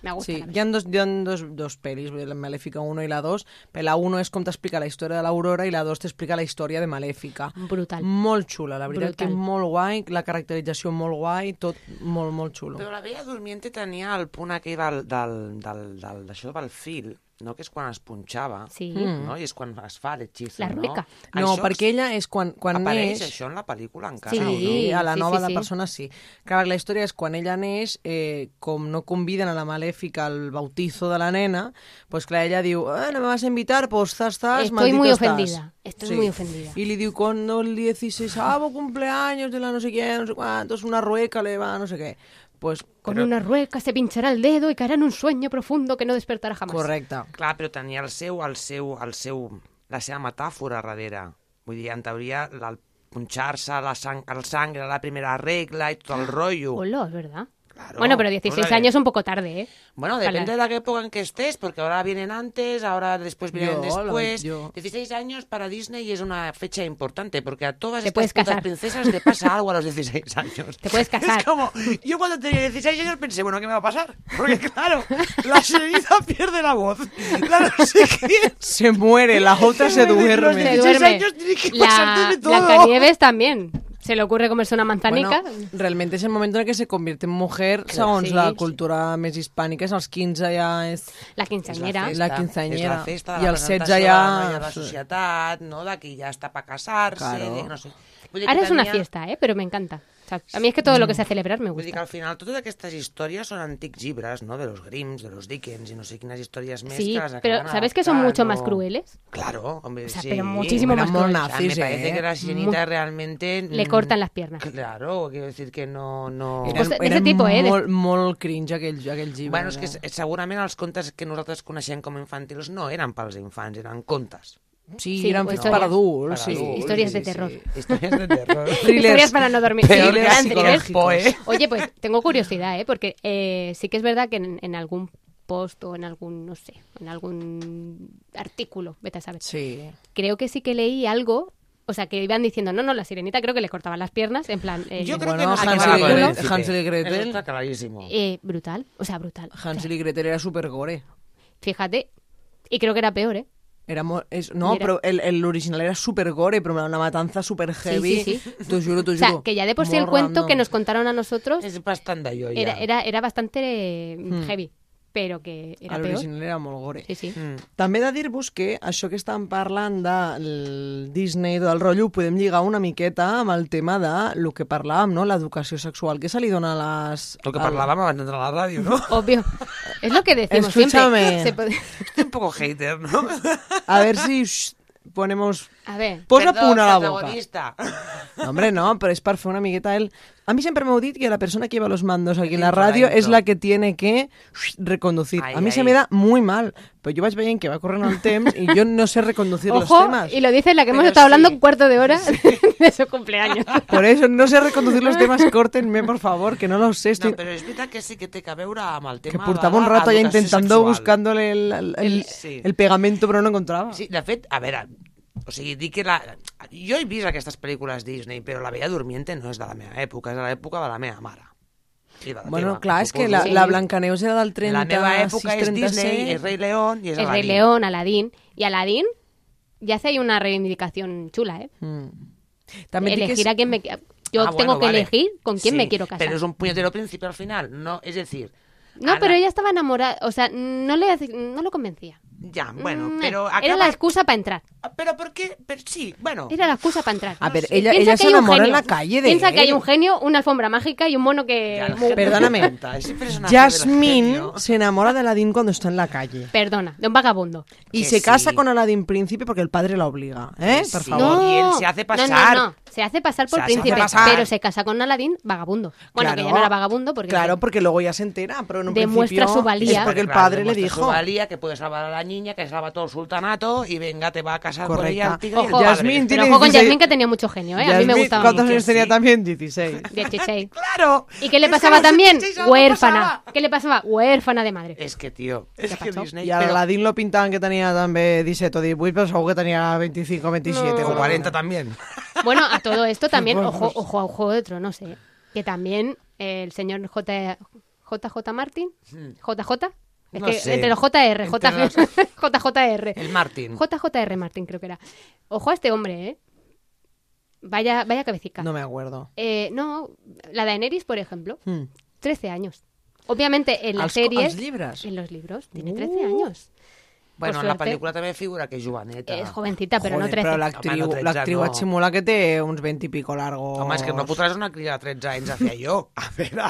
Me gusta. Sí, la hi ha dos, hi ha dos, dos pel·lis, la Malèfica 1 i la 2. Però La 1 és com t'explica la història de l'Aurora i la 2 t'explica la història de Malèfica. versión. Brutal. Molt xula, la veritat Brutal. que molt guai, la caracterització molt guai, tot molt, molt xulo. Però la Bella Durmiente tenia el punt aquell del, del, del, del, d'això del fil, no? que és quan es punxava, Sí. no? i és quan es fa l'hechizo. La rúnica. No? Mm. No, Això perquè ella és quan, quan apareix neix... això en la pel·lícula encara. Sí. o Sí, a la sí, nova sí, de sí. persona sí. Clar, la història és quan ella neix, eh, com no conviden a la malèfica al bautizo de la nena, pues clar, ella diu, eh, no me vas a invitar, pues estás, estás, Estoy maldito muy estás". ofendida, estoy muy ofendida. Y le diu, cuando el 16 cumpleaños de la no sé quién, no sé cuántos, una rueca le va, no sé qué. Pues Con una rueca se pinchará el dedo y caerá en un sueño profundo que no despertará jamás. correcte. no? Clar, però tenia el seu, el seu, el seu, la seva metàfora darrere. Vull dir, en teoria, la- el punxar-se la sang, el sangre, la primera regla i tot el rotllo. Ah, Hola, es verdad. Claro, bueno, pero 16 órale. años es un poco tarde, ¿eh? Bueno, Ojalá. depende de la época en que estés, porque ahora vienen antes, ahora después vienen Yo, la- después. yo. 16 años para Disney es una fecha importante, porque a todas Te estas puedes putas casar. princesas le pasa algo a los 16 años. Te puedes casar. Es como, yo cuando tenía 16 años pensé, bueno, ¿qué me va a pasar? Porque claro, la señorita pierde la voz. La no sé [laughs] quién. Se muere, la otra se Los [laughs] Se duerme. 16 duerme. años tiene que pasarte La de todo. Blancanieves también. Se le ocurre comerse una manzanica. Bueno, pues realment és el moment en què se convierte en mujer segons sí, la sí. cultura més hispànica, és als 15 ja és... la És quinceañera. la festa. quinceañera. És la festa de I la el setze presentació ja- de la noia de la societat, no? De qui ja està per casar-se, Claro. de no sé. Vull dir que Ahora es una tenia- fiesta, ¿eh? Pero me encanta. O sea, a mí es que todo lo que sea celebrar me Vull dir que gusta. al final totes aquestes històries són antics llibres, no? De los Grimms, de los Dickens i no sé quines històries més Sí, que les pero acaben ¿sabes que son mucho adaptant más o- crueles? Claro, hombre, O sea, sí. pero muchísimo Eran más molt crueles. O sea, me nazis, parece que eh? la sirenita realmente... Le mm, cortan las piernas. [laughs] Claro, quiero decir que no... no... Era- Pues de- d'ese tipo, eh, de- Molt, molt cringe aquell, aquell llibre. Bueno, és que eh? s- segurament els contes que nosaltres coneixem com a infantils no eren pels infants, eren contes. [laughs] Sí, Sí, eren o fets històries. per adults, Per sí. adults, Històries de terror. Històries de terror. Thrillers. Historias para no dormir. Sí, Pero gran eran thriller. poe. psicológicos. Oye, pues tengo curiosidad, ¿eh? Porque eh, sí que es verdad que en, en algún post o en algún, no sé, en algún artículo, vete a saber, Sí. creo que sí que leí algo, o sea, que iban diciendo, no, no, la sirenita creo que le cortaban las piernas, en plan... eh, Yo creo Bueno, que no se Hansel va y por el Gretel- príncipe. Hansel y Gretel. Eso está clarísimo. eh, brutal, o sea, brutal. Hansel i Gretel era supergore. Fíjate, y creo que era peor, ¿eh? Era molt, és, no, Mira. Mira. però el- el- l'original era supergore, però una matanza super heavy. Sí, sí, sí. [laughs] T'ho juro, t'ho O sea, juro. que ya de por sí el Molt cuento que random. nos contaron a nosotros Es bastante yo ya. Hmm. era, era, era bastante eh, heavy, pero que era peor. L'original era molt gore. Sí, sí. Hmm. També he de dir-vos que això que estan parlant del Disney i tot el rotllo ho podem lligar una miqueta amb el tema de lo que parlàvem, no? l'educació sexual que se li dona a les... Lo que parlábamos antes de la radio, [laughs] ¿no? Obvio. Es lo que decimos Escúchame. siempre. [laughs] Se puede- Estoy un poco hater, ¿no? [laughs] A veure si us ponemos... A ver, Posa Perdón, punt a la boca. protagonista. No, hombre, no, però és per fer una miqueta el... A mi sempre m'heu dit que la persona que lleva los mandos aquí en la Dentro, ràdio dentro. és la que tiene que reconducir. Ahí, a mi se ahí. me da muy mal, pues però jo vaig veient que va corrent el temps i jo no sé reconducir los ojo, temas. y lo dice la que hemos Pero estado hablando sí. un cuarto de hora [laughs] de su cumpleaños. Por eso, no sé reconducir los temas, córtenme, por favor, que no lo sé. Estoy... No, pero es verdad que sí que té que veure amb el Que tema portava de la un rato ya educació intentando, sexual. buscándole el, el- el- Sí. el pegamento, pero no encontraba. Sí, de fet, a veure, O sigui, dir que la... Jo he vist aquestes pel·lícules Disney, però La Bella Durmiente no és de la meva època, és de l'època de la meva mare. I de la Bueno, teva, clar, és que suposo. la, Sí. la Blancaneus era del 36, la meva època és Disney, és 37. Rei León i és, Es Rey Aladdin. León, Aladdin. Y Aladdin ya hace ahí una reivindicación chula, ¿eh? Mm. També et dic que Elegir és, a quién me... Yo Ah, tengo bueno, que vale. elegir con quién Sí, me quiero casar. Pero es un puñetero príncipe al final, ¿no? Es decir... No, a pero la- ella estaba enamorada, o sea, no le hace- no lo convencía. Ya, bueno, Mm, pero Era la acaba... excusa para entrar. Pero ¿por qué? Pero sí, bueno. Era la excusa para entrar. A ver, sé. ella- ella Piensa que se hay un enamoró en genio. la calle de Piensa que hay él. un genio, una alfombra mágica y un mono que... Ya, la muy- gente Perdóname. pregunta, ese personaje del Jasmine genio. se enamora de Aladdin cuando está en la calle. Perdona, de un vagabundo. Y Que se sí. casa con Aladdin príncipe porque el padre la obliga, ¿eh? Que Por sí. favor. y él se hace pasar. No, no, no. Se hace pasar por Se hace príncipe, pasar. pero se casa con Aladín vagabundo. Bueno, que ya no era vagabundo porque... Claro, porque luego ya se entera, pero en un Demuestra principio su valía. Es porque el Claro, padre le demuestra su dijo. valía, que puede salvar a la niña, que salva todo el sultanato y venga, te va a casar con ella Correcta. el tigre y el Ojo. padre. Jasmine tiene Pero ojo con 16. Jasmine que tenía mucho genio, ¿eh? A mí me Jasmine, gustaba. ¿Cuántos mucho. años tenía también? [laughs] 16. 16. ¡Claro! ¿Y [laughs] qué le Es que a pasaba los también? 16 algo Huérfana. pasaba. Eh. ¿Qué le pasaba? Huérfana de madre. Es que, tío, es que pasó? Disney... Y a pero- Aladdin lo pintaban que tenía también 17 o 18, pero seguro que tenía 25, 27. o como 40 también. Bueno, a [laughs] todo esto también, Bueno, ojo, pues- ojo a Juego de Tronos, ¿eh? Que también eh, el señor J, JJ Martin, JJ, es Hmm. No que sé. entre los JR, Entre JJ, [laughs] JJR, El Martin. JJR Martin creo que era. Ojo a este hombre, ¿eh? Vaya, vaya cabecica. No me acuerdo. Eh, no, la Daenerys, por ejemplo, Hmm. 13 años. Obviamente en la Als- serie, als llibres? en los libros, tiene 13 años. Bueno, Por en la suerte, película también figura que es joveneta. Es jovencita, pero no Joder, 13. però Home, l'actriu no, 13 l'actriu no. et simula que té uns 20 i pico largos. Home, és que no fotràs una crida de 13 anys hacia yo. [laughs] A veure...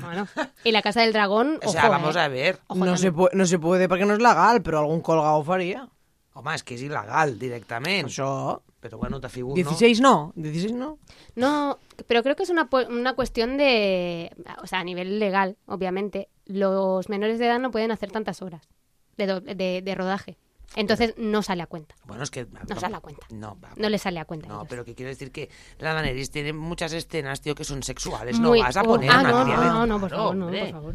Bueno, y la Casa del Dragón, [laughs] O sea, ojo, vamos eh. a ver. Ojo no, también. se pu- no se puede perquè no és legal, però algun colgado ho faria. Home, és que és il·legal, directament. Això... Això... Però bueno, te figuro, 16 no, 16 no. No, pero creo que es una, pu- una cuestión de, o sea, a nivel legal, obviamente, los menores de edad no pueden hacer tantas horas de, do- de- de rodaje. Entonces no sale a cuenta. ¿no? Bueno, es que... No se da cuenta. No, va, No le sale a cuenta. a No, ellos. pero que quiero decir que la Daenerys tiene muchas escenas, tío, que son sexuales. Muy- No vas a oh, poner ah, una no, tía no, de- no, no, por Claro, favor, no, hombre. por favor.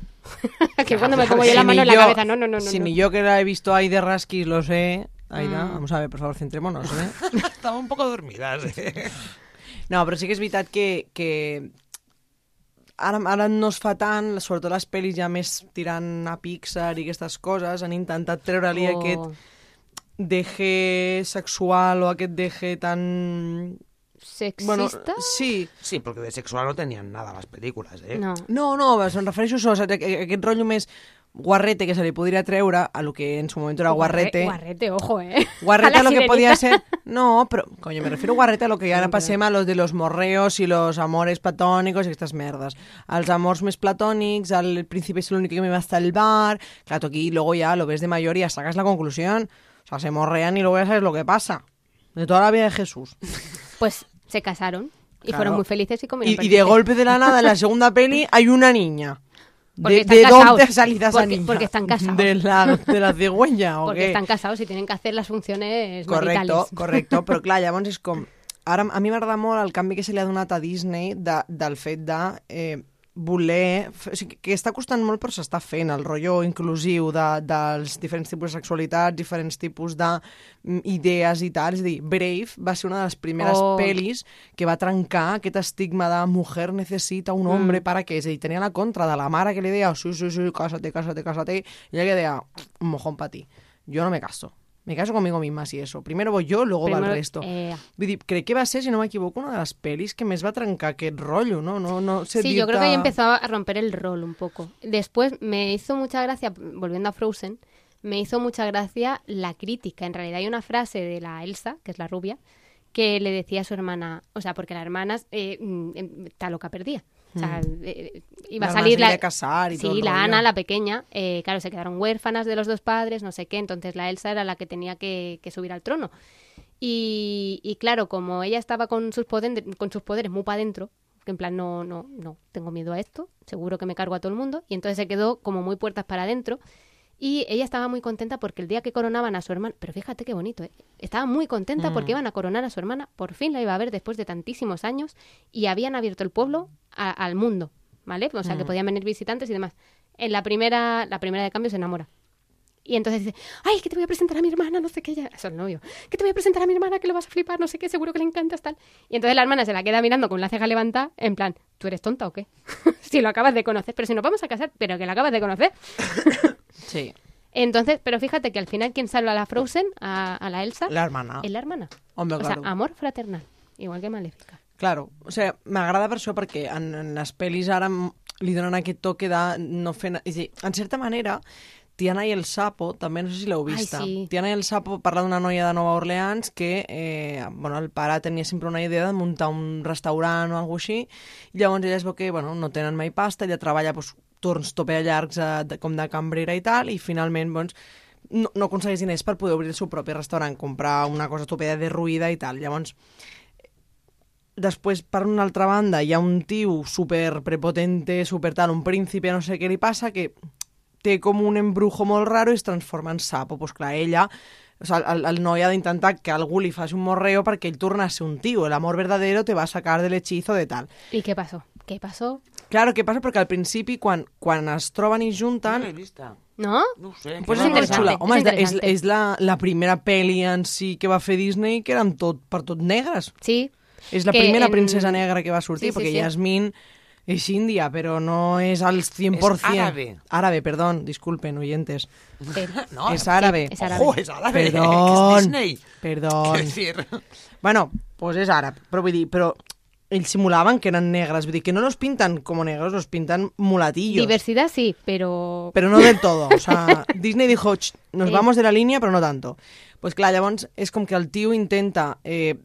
que cuando me pongo yo Si la ni mano en la yo- cabeza, no, no, no, no. Si no. Mm. ni yo que la he visto ahí de rasquis lo sé. Aida, vamos a ver, por favor, centrémonos, ¿eh? [laughs] [laughs] Estaba un poco dormida, eh? No, però sí que és veritat que, que ara, ara no es fa tant, sobretot les pel·lis ja més tirant a Pixar i aquestes coses, han intentat treure-li Oh. aquest deje sexual o aquest deje tan... ¿Sexista? sí. Sí, porque de sexual no tenían nada las películas, ¿eh? No. No, no, em refereixo a això, saps? A- a- a aquest rotllo més guarrete que se li podria treure a lo que en su moment era guarrete. eh, Guarrete, ojo, eh. Guarrete la a lo que sirenita. podía ser. No, pero. Coño, me refiero a guarrete a lo que ya pasem a los de los morreos y los amores platónicos y estas merdas. Als amors més platònics, al príncipe es el único que me va a salvar. Claro, tú aquí luego ya lo ves de mayor y ya sacas la conclusión. O sea, se morrean y luego ya sabes lo que pasa. De toda la vida de Jesús. Pues se casaron y Claro. fueron muy felices y comieron Y, y de perdices. golpe de la nada, en la segunda peli, hay una niña. Porque ¿De, están de casados. dónde ha salido esa Porque- niña? porque están casados. ¿De la, de la cigüeña o [laughs] Porque qué? están casados y tienen que hacer las funciones Correcto, maritales. correcto, però [laughs] clar, llavors és com... Ara, a mi m'agrada molt el canvi que se li ha donat a Disney de, del fet de eh, voler... f- O sigui, que està costant molt però s'està fent el rotllo inclusiu de, dels diferents tipus de sexualitats, diferents tipus d'idees i tal. És a dir, Brave va ser una de les primeres oh. Oh. pel·lis que va trencar aquest estigma de mujer necessita un hombre mm. para que... És a dir, tenia la contra de la mare que li deia sí, sí, sí, cásate, cásate, cásate, i ella que deia, un mojón pa ti. Jo no me caso. Me caso conmigo misma, si eso. Primero voy yo, luego va Primero- el resto. eh, Vull dir, crec que va ser, si no m'equivoco, una de les pel·lis que més va trencar aquest rotllo, no? no, no sé Sí, dir-te- yo creo que ahí empezó a romper el rol un poco. Después me hizo mucha gracia, volviendo a Frozen, me hizo mucha gracia la crítica. En realidad hay una frase de la Elsa, que es la rubia, que le decía a su hermana, o sea, porque la hermana eh, mm, em, está loca perdida. O sea, Mm. eh, La iba a hermana salir se la... quería casar y sí, todo el la rollo. Ana, la pequeña, eh, claro, se quedaron huérfanas de los dos padres, no sé qué, entonces la Elsa era la que tenía que, que subir al trono. Y, y claro, como ella estaba con sus, poden- con sus poderes muy para adentro, que en plan, no, no, no, tengo miedo a esto, seguro que me cargo a todo el mundo, y entonces se quedó como muy puertas para adentro. Y ella estaba muy contenta porque el día que coronaban a su hermana, pero fíjate qué bonito, ¿eh? estaba muy contenta porque iban a coronar a su hermana, por fin la iba a ver después de tantísimos años y habían abierto el pueblo a- al mundo, ¿vale? O sea, que podían venir visitantes y demás. En la primera, la primera de cambio se enamora Y entonces dice, ay, que te voy a presentar a mi hermana, no sé qué, ya, eso el novio, que te voy a presentar a mi hermana, que lo vas a flipar, no sé qué, seguro que le encantas, tal. Y entonces la hermana se la queda mirando con la ceja levantada, en plan, ¿tú eres tonta o qué? [laughs] si lo acabas de conocer, pero si nos vamos a casar, pero que lo acabas de conocer. Sí. Entonces, pero fíjate que al final quien salva a la Frozen, a, a la Elsa, La hermana. es la hermana. Home, o claro. sea, amor fraternal, igual que Maléfica. Claro, o sigui, m'agrada per això perquè en, en les pel·lis ara m- li donen aquest toque de no fer... na- És a dir, en certa manera, Tiana i el Sapo, també no sé si l'heu Ai, vista. sí. Tiana i el Sapo parla d'una noia de Nova Orleans que eh, bueno, el pare tenia sempre una idea de muntar un restaurant o alguna així, i llavors ella es veu que bueno, no tenen mai pasta, ella treballa doncs, torns tope llargs eh, de, com de cambrera i tal, i finalment doncs, no, no aconsegueix diners per poder obrir el seu propi restaurant, comprar una cosa topella derruïda i tal. Llavors, Després, per una altra banda, hi ha un tio super prepotente, super tal, un príncipe, no sé què li passa, que té com un embrujo molt raro i es transforma en sapo. Pues clar, ella, o sea, el, el noi ha d'intentar que algú li faci un morreo perquè ell torna a ser un tio. El amor verdadero te va a sacar del hechizo de tal. ¿Y qué pasó? ¿Qué pasó? Claro, què passa? Perquè al principi, quan, quan es troben i junten... No l'he vista. ¿No? No ho sé. Pues és Mm. És molt interessant. xula. Home, és és, la- és, interessant. és la, la primera pel·li en si que va fer Disney que eren tot, per tot negres. [laughs] Sí. És la que primera en- princesa negra que va sortir, Sí, sí, perquè sí. Yasmin és índia, però no és al 100%. És àrabe. Árabe, perdón, disculpen, oyentes. Eh, No, es árabe. es árabe. Ojo, [laughs] es árabe. Perdón. Que es Disney. Perdón. Quiero decir... Bueno, pues és àrab, però vull dir, però ells simulaven que eren negres, vull dir, que no los pintan como negros, los pintan mulatillos. Diversidad sí, pero... Pero no del todo. O [laughs] sea, Disney dijo, "Ch, nos Sí. vamos de la línia, però no tanto. Pues clar, llavors és com que el tio intenta eh,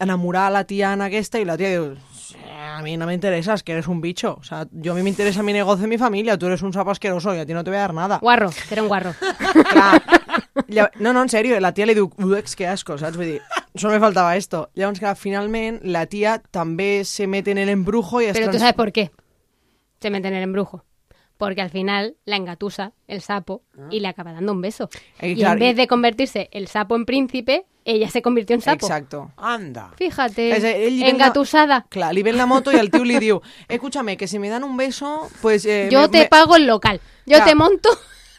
enamorar la tiana aquesta i la tia diu, "Sí, a mi no me interesas, que eres un bicho. O sea, yo a mí me interesa mi negocio y mi familia, tú eres un sapo asqueroso y a ti no te voy a dar nada. Guarro, que era [laughs] un guarro. Clar, lla- no, no, en sèrio, eh, la tia li diu, uex, que asco, saps? Vull dir, solo me faltava esto. Llavors, clar, finalment, la tia també se mete en el embrujo i es [laughs] Pero tú trans- sabes por qué se meten en el embrujo. Porque al final la engatusa, el sapo, y le acaba dando un beso. Eh, y Ah. claro, en y- vez de convertirse el sapo en príncipe, ella se convirtió en sapo. Exacto. Anda. Fíjate, És a dir, ell li ven la- engatusada. Clar, li ven la moto i el tio li diu Escúchame, que si me dan un beso pues, eh, Yo me- te me-". pago el local. Yo Claro. te monto.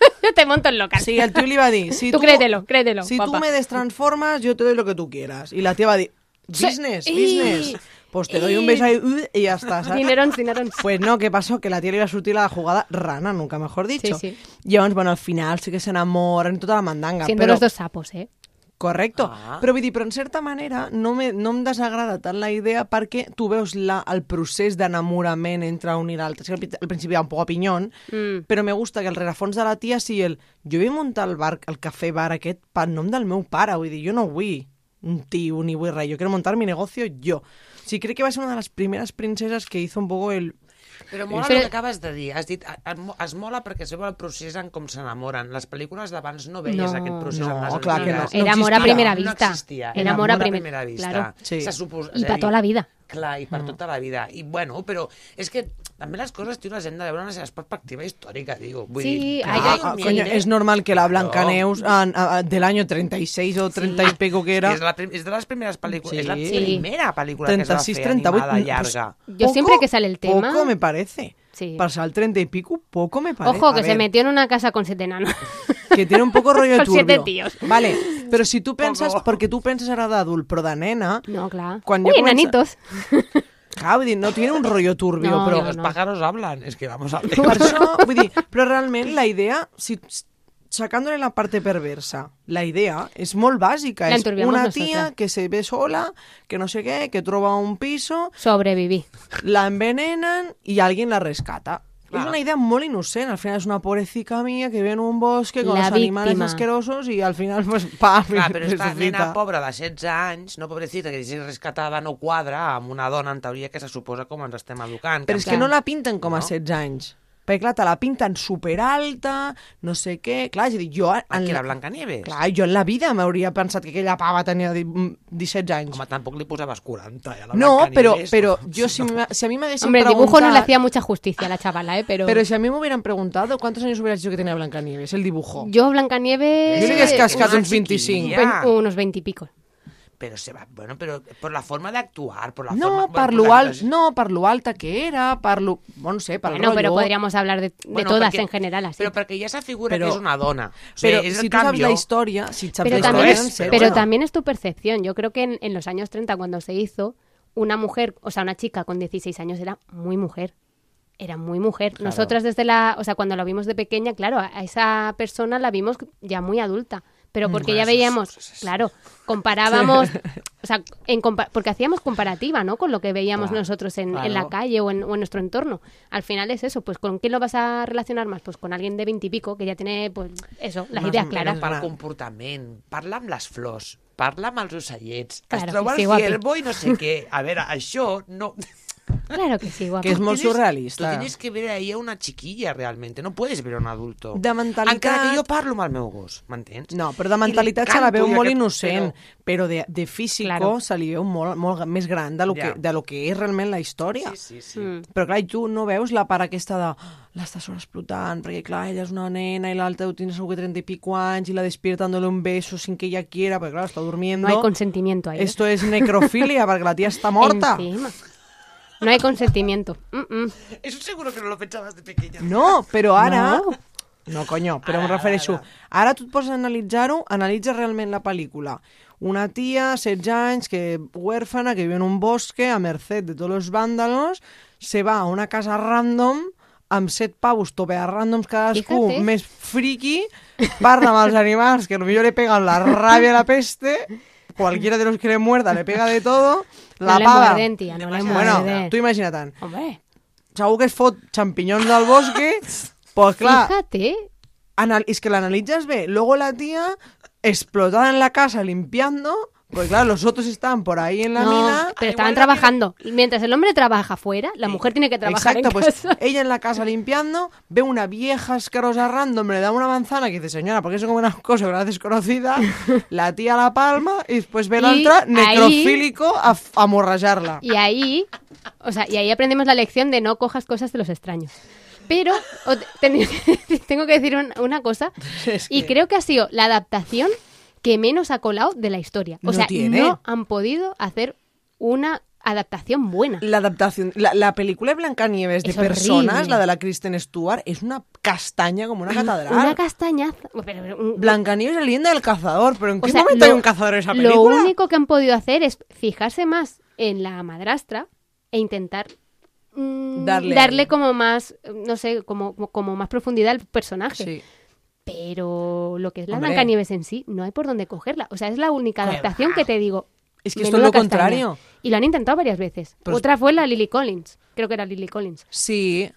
[laughs] yo te monto el local. Sí, el tio li va dir si Tú créetelo, créetelo, Si tú papá". me destransformas, yo te doy lo que tú quieras Y la tía va a decir Sí. Business, Y- business Pues te doy un y- beso ahí, uh, y ya está, ¿sabes? Dinerón, dinerón. Pues no, ¿qué pasó? Que la tía le iba a surtir la jugada rana, nunca mejor dicho. Sí, Y aún, bueno, al final sí que se enamoran y toda la mandanga. Siendo pero... los dos sapos, ¿eh? Correcto. Ah. Però vull dir, però en certa manera no, me, no em desagrada tant la idea perquè tu veus la, el procés d'enamorament entre un i l'altre. Sí, al pri- al principi va un poc a pinyon, Mm. però me gusta que el rerefons de la tia sigui el... Jo vull muntar el bar, el cafè bar aquest per nom del meu pare. Vull dir, jo no vull un tio ni vull res. Jo quiero montar mi negocio jo. O sigui, crec que va ser una de les primeres princeses que hizo un poco el... Però mola Però- el que acabes de dir. Has dit, a- a- mo- es mola perquè es veu el procés en com s'enamoren. Les pel·lícules d'abans no veies No. aquest procés No, en les clar que no. antigues. No Era amor existia. a primera No vista. existia. Era amor a primer- primera vista. claro. Sí. Se supos- és Y a para dir, toda la vida. Mm. Clar, i per tota la vida. I bueno, però és que també les coses, tio, les hem de veure en la seva perspectiva històrica, digo. Vull Sí, dir, ai, clar, ai, Ah, un coño, mil- es normal que la Claro. Blancaneus an- a- a- del año 36 o 30 y pico que era... És, la prim- és de les primeres pel·lícules, Sí. és la Sí. primera pel·lícula que es va 36, fer 38, animada pues, llarga. Yo siempre que sale el tema- Poco me parece. Sí. Pasar al 30 y pico, poco me parece. Ojo, A que se ver, metió en una casa con siete [laughs] enanos. Que tiene un [laughs] poco rollo Con turbio. siete tíos. Vale, pero si tú piensas, Poco. porque tú piensas ahora de adulto, pero de nena, No, claro. Quan Uy, jo comença- enanitos. clar, vull dir, no tiene un rollo turbio, No, però... [laughs] Los no. pájaros hablan, es que vamos [laughs] a ver. Per això, vull dir, però realment la idea, si sacándole la parte perversa, la idea es muy básica. La Es enturbiamos una nosotras. tía que se ve sola, que no sé qué, que trova un piso, Sobreviví. la envenenan y alguien la rescata. Claro. Es una idea muy inocente. Al final es una pobrecita mía que vive en un bosque con La los animales víctima. asquerosos y al final, pues, pa, [laughs] Clar, però esta resucita. nena pobra de 16 anys, no pobrecita, que és rescatada, no quadra amb una dona, en teoria, que se suposa com ens estem educant. Però és en que Clar. no la pinten com a No. 16 anys. Perquè, clar, te la pinten superalta, no sé què... Clar, és a dir, jo... plan, Aquí la- la Blancanieves. Clar. Clar, jo en la vida m'hauria pensat que aquella pava tenia di- mm, 17 anys. Home, tampoc li posaves 40, eh, a la no, però, Blancanieves. però jo si, m'ha- si a mi m'haguessin Hombre, el preguntat... dibujo no le hacía mucha justicia a la chavala, ¿eh? Pero, Pero si a mí me hubieran preguntado cuántos años hubiera dicho que tenía Blancanieves, el dibujo. yo, Blancanieves... Jo li hagués Eh, cascat una uns 25. chiquilla. Unos 20 y pico. Però, se va, bueno, però per la forma d'actuar, per la forma... No, bueno, per per lo la- al, no, per lo alta que era, per lo... Bueno, no sé, per Bueno, el pero rollo. podríamos hablar de, de Bueno, todas perquè- en general, así. Però perquè ja s'afigura Però- que és una dona. O sigui, Pero és el si tú sabes canvi. la historia, si sabes Pero, la también, historia, es, no sé, pero bueno. también es tu percepción. Yo creo que en, en los años 30, cuando se hizo, una mujer, o sea, una chica con 16 años era muy mujer. Era muy mujer. Nosotras desde la, o sea, cuando la vimos de pequeña, claro, a a esa persona la vimos ya muy adulta. Pero porque ya Mm. Bueno, eso es- veíamos, eso es- claro, [laughs] comparábamos, o sea, en compa- porque hacíamos comparativa, ¿no? Con lo que veíamos Claro, nosotros en, en claro. la calle o en, o en nuestro entorno. Al final es eso, pues ¿con quién lo vas a relacionar más? Pues con alguien de 20 y pico que ya tiene, pues, eso, las Mas- ideas però claras. Pel comportament, parla amb les flors, parla amb els ocellets, Claro, es troba sí, el guapi. ciervo i no sé què. A veure, això no... Claro que sí, guapa. Que es muy Tienes- surrealista. Tú tienes que ver ahí a una chiquilla realmente, no puedes ver a un adulto. De mentalitat- Encara que jo parlo amb el meu gos, m'entens? No, però de I li mentalitat se la canto veu i molt aquest- innocent, però- però de, de físico Claro. se li veu molt, molt més gran de lo, Ja. que, de lo que és realment la història. Sí, sí. Sí, sí, sí. Mm. Però clar, i tu no veus la part aquesta de "Ah, l'està sobreexplotant, perquè clar, ella és una nena i l'altra ho tens segur que 30 i pico anys i la despiertan dándole un beso sin que ella quiera, perquè clar, està durmiendo. No hay consentimiento ahí. ¿eh? Esto es necrofilia, perquè la tia està morta. Encima. No hay consentimiento. Mm, mm. Eso seguro que no lo pensabas de pequeña. No, però ara... No. No, no coño, però em refereixo... Ara tu et poses a analitzar-ho, analitza realment la pel·lícula. Una tia, 16 anys, que huérfana, que viu en un bosque, a merced de tots els vàndalos, se va a una casa random amb set pavos tope a ràndoms cadascú Fíjate. més friki, parla amb els animals que potser le pegan la ràbia i la peste, cualquiera de los que le muerda le pega de todo, la no le pava... muerden, tía, no le Bueno, muerden. tu imagina't. tant Hombre, segur que es fot champinyons del bosque, [laughs] pues clar, fíjate. anal- és que l'analitzes bé. Luego la tía, explotada en la casa limpiando, pues claro, los otros están por ahí en la No, mina. al Eh, pero igual estaban la trabajando. Y Mientras el hombre trabaja fuera, la mujer tiene que trabajar Exacto, en pues casa. ella en la [laughs] casa limpiando, ve una vieja escarosa random, le da una manzana que dice, señora, porque eso como una cosa, una [laughs] desconocida, la tía la palma y después ve la Y otra, ahí- necrofílico, a, f- a amorrallarla. Y ahí, o sea, y ahí aprendemos la lección de no cojas cosas de los extraños. Pero o te- ten- tengo que decir [laughs] un- una cosa, [laughs] Es y creo que ha sido la adaptación que menos ha colado de la historia. O No sea, tiene. no han podido hacer una adaptación buena. La adaptación, la, la película de Blancanieves de Es horrible. personas, la de la Kristen Stewart, es una castaña como una catedral. Una castañaza. Pero, pero un- Blancanieves es la leyenda del cazador, pero ¿en o qué sea, momento lo- hay un cazador en esa película? Lo único que han podido hacer es fijarse más en la madrastra e intentar mm, Darle darle, ahí. como más, no sé, como, como- como más profundidad al personaje. Sí. Pero lo que es la Hombre. Blancanieves en sí, no hay por dónde cogerla. O sea, es la única Qué adaptación va. que te digo. Es que esto es menuda lo castaña. contrario. Pues Y lo han intentado varias veces. Pero- Otra fue la Lily Collins. Creo que era Lily Collins. Sí,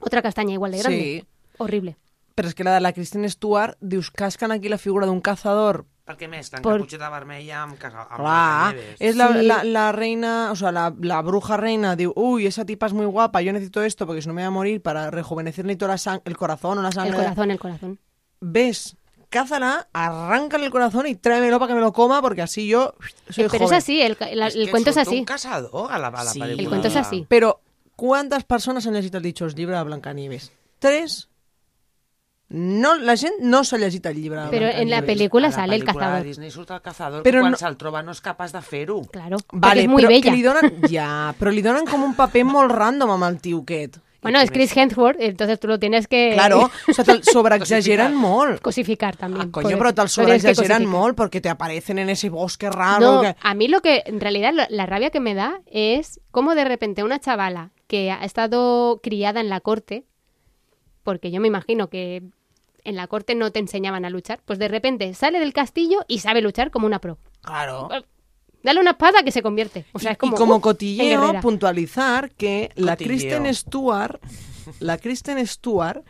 Otra castaña igual de grande. Sí. Horrible. pero es que la de la Kristen Stewart, dius, cascan aquí la figura de un cazador. Perquè més, tan Por- caputxeta vermella amb, caga, amb Clar, Blancanieves. es la, Sí. la- la reina, o sea, la, la bruja reina, digo, uy, esa tipa es muy guapa, yo necesito esto porque si no me voy a morir para rejuvenecerle y toda la sang- el corazón o la El sangre. corazón, el corazón. Ves, cázala, arráncale el corazón y tráemelo para que me lo coma porque así yo soy Eh, Pero es joven. así, el, ca- la- És el que cuento es surt así. un casador a la, a la Sí. pel·lícula. El cuento es así. Pero, ¿cuántas personas han llegit el dichos llibre de Blancanieves? Tres. No, la gent no s'ha llegit el llibre de Però en la Blancanieves. película A la sale el pel·lícula de cazador. Disney surt el cazador, Però però quan no- se'l troba no és capaç de fer-ho. Claro. porque Vale, es muy però bella. que li donen... Ja, però li donen com un paper molt random amb el tio aquest. Bueno, es Chris Hemsworth, entonces tú lo tienes que Claro, o sea, te'l sobreexageran molt. [laughs] cosificar también. Ah, coño, pobre. però te'l Lo tienes que sobreexageran cosificar. molt perquè te aparecen en ese bosque raro. No, que... a mí lo que en realidad lo- la rabia que me da es cómo de repente una chavala que ha estado criada en la corte, porque yo me imagino que en la corte no te enseñaban a luchar, pues de repente sale del castillo y sabe luchar como una pro. Claro. Dale una espada que se convierte. O sea, es como, y como ¡uh! en cotilleo, guerrera. puntualizar que la Cotilleo. Kristen Stewart, la Kristen Stewart,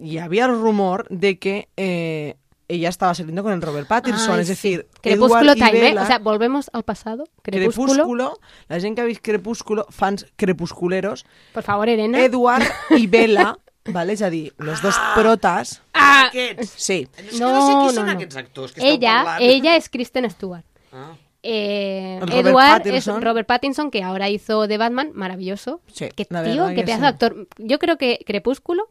y había el rumor de que eh, ella estaba saliendo con el Robert Pattinson, Ay, es sí. decir, Crepúsculo Edward y time, ¿eh? Bella- O sea, volvemos al pasado. Crepúsculo. Crepúsculo, la gente que habéis Crepúsculo, fans crepusculeros, Por favor, Elena. Edward y Bella, ¿vale? Es a dir, los dos protas, Ah, Aquests. sí. És que no sé qui són aquests actors que estan ella, parlant. ella es Kristen Stewart. Ah. Eh, El Robert Edward Pattinson. es Robert Pattinson, que ahora hizo de Batman, maravilloso. Sí, qué la tío, verdad qué que pedazo sí. de actor. Yo creo que Crepúsculo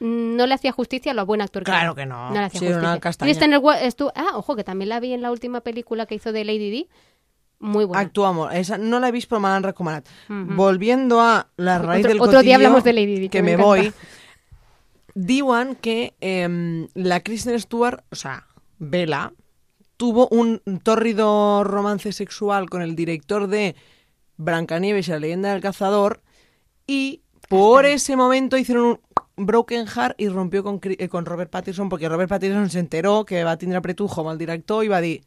no le hacía justicia a lo buen actor Claro que que era. no. No le hacía Sí, era una justicia. castaña. Kristen Stewart estu- Ah, ojo, que también la vi en la última película que hizo de Lady Di. Muy buena. Actuamos. Esa no la he visto, pero me la han recomanado. Volviendo a la raíz Otro- del otro cotillo, día hablamos de Lady Di, que que me me encanta. voy. Diwan que em, la Kristen Stewart, o sea, Vela, tuvo un tórrido romance sexual con el director de Brancanieves y la leyenda del cazador y por ese momento hicieron un broken heart y rompió con, Cri- eh, con Robert Pattinson porque Robert Pattinson se enteró que va a tindre pretujo amb el director i va dir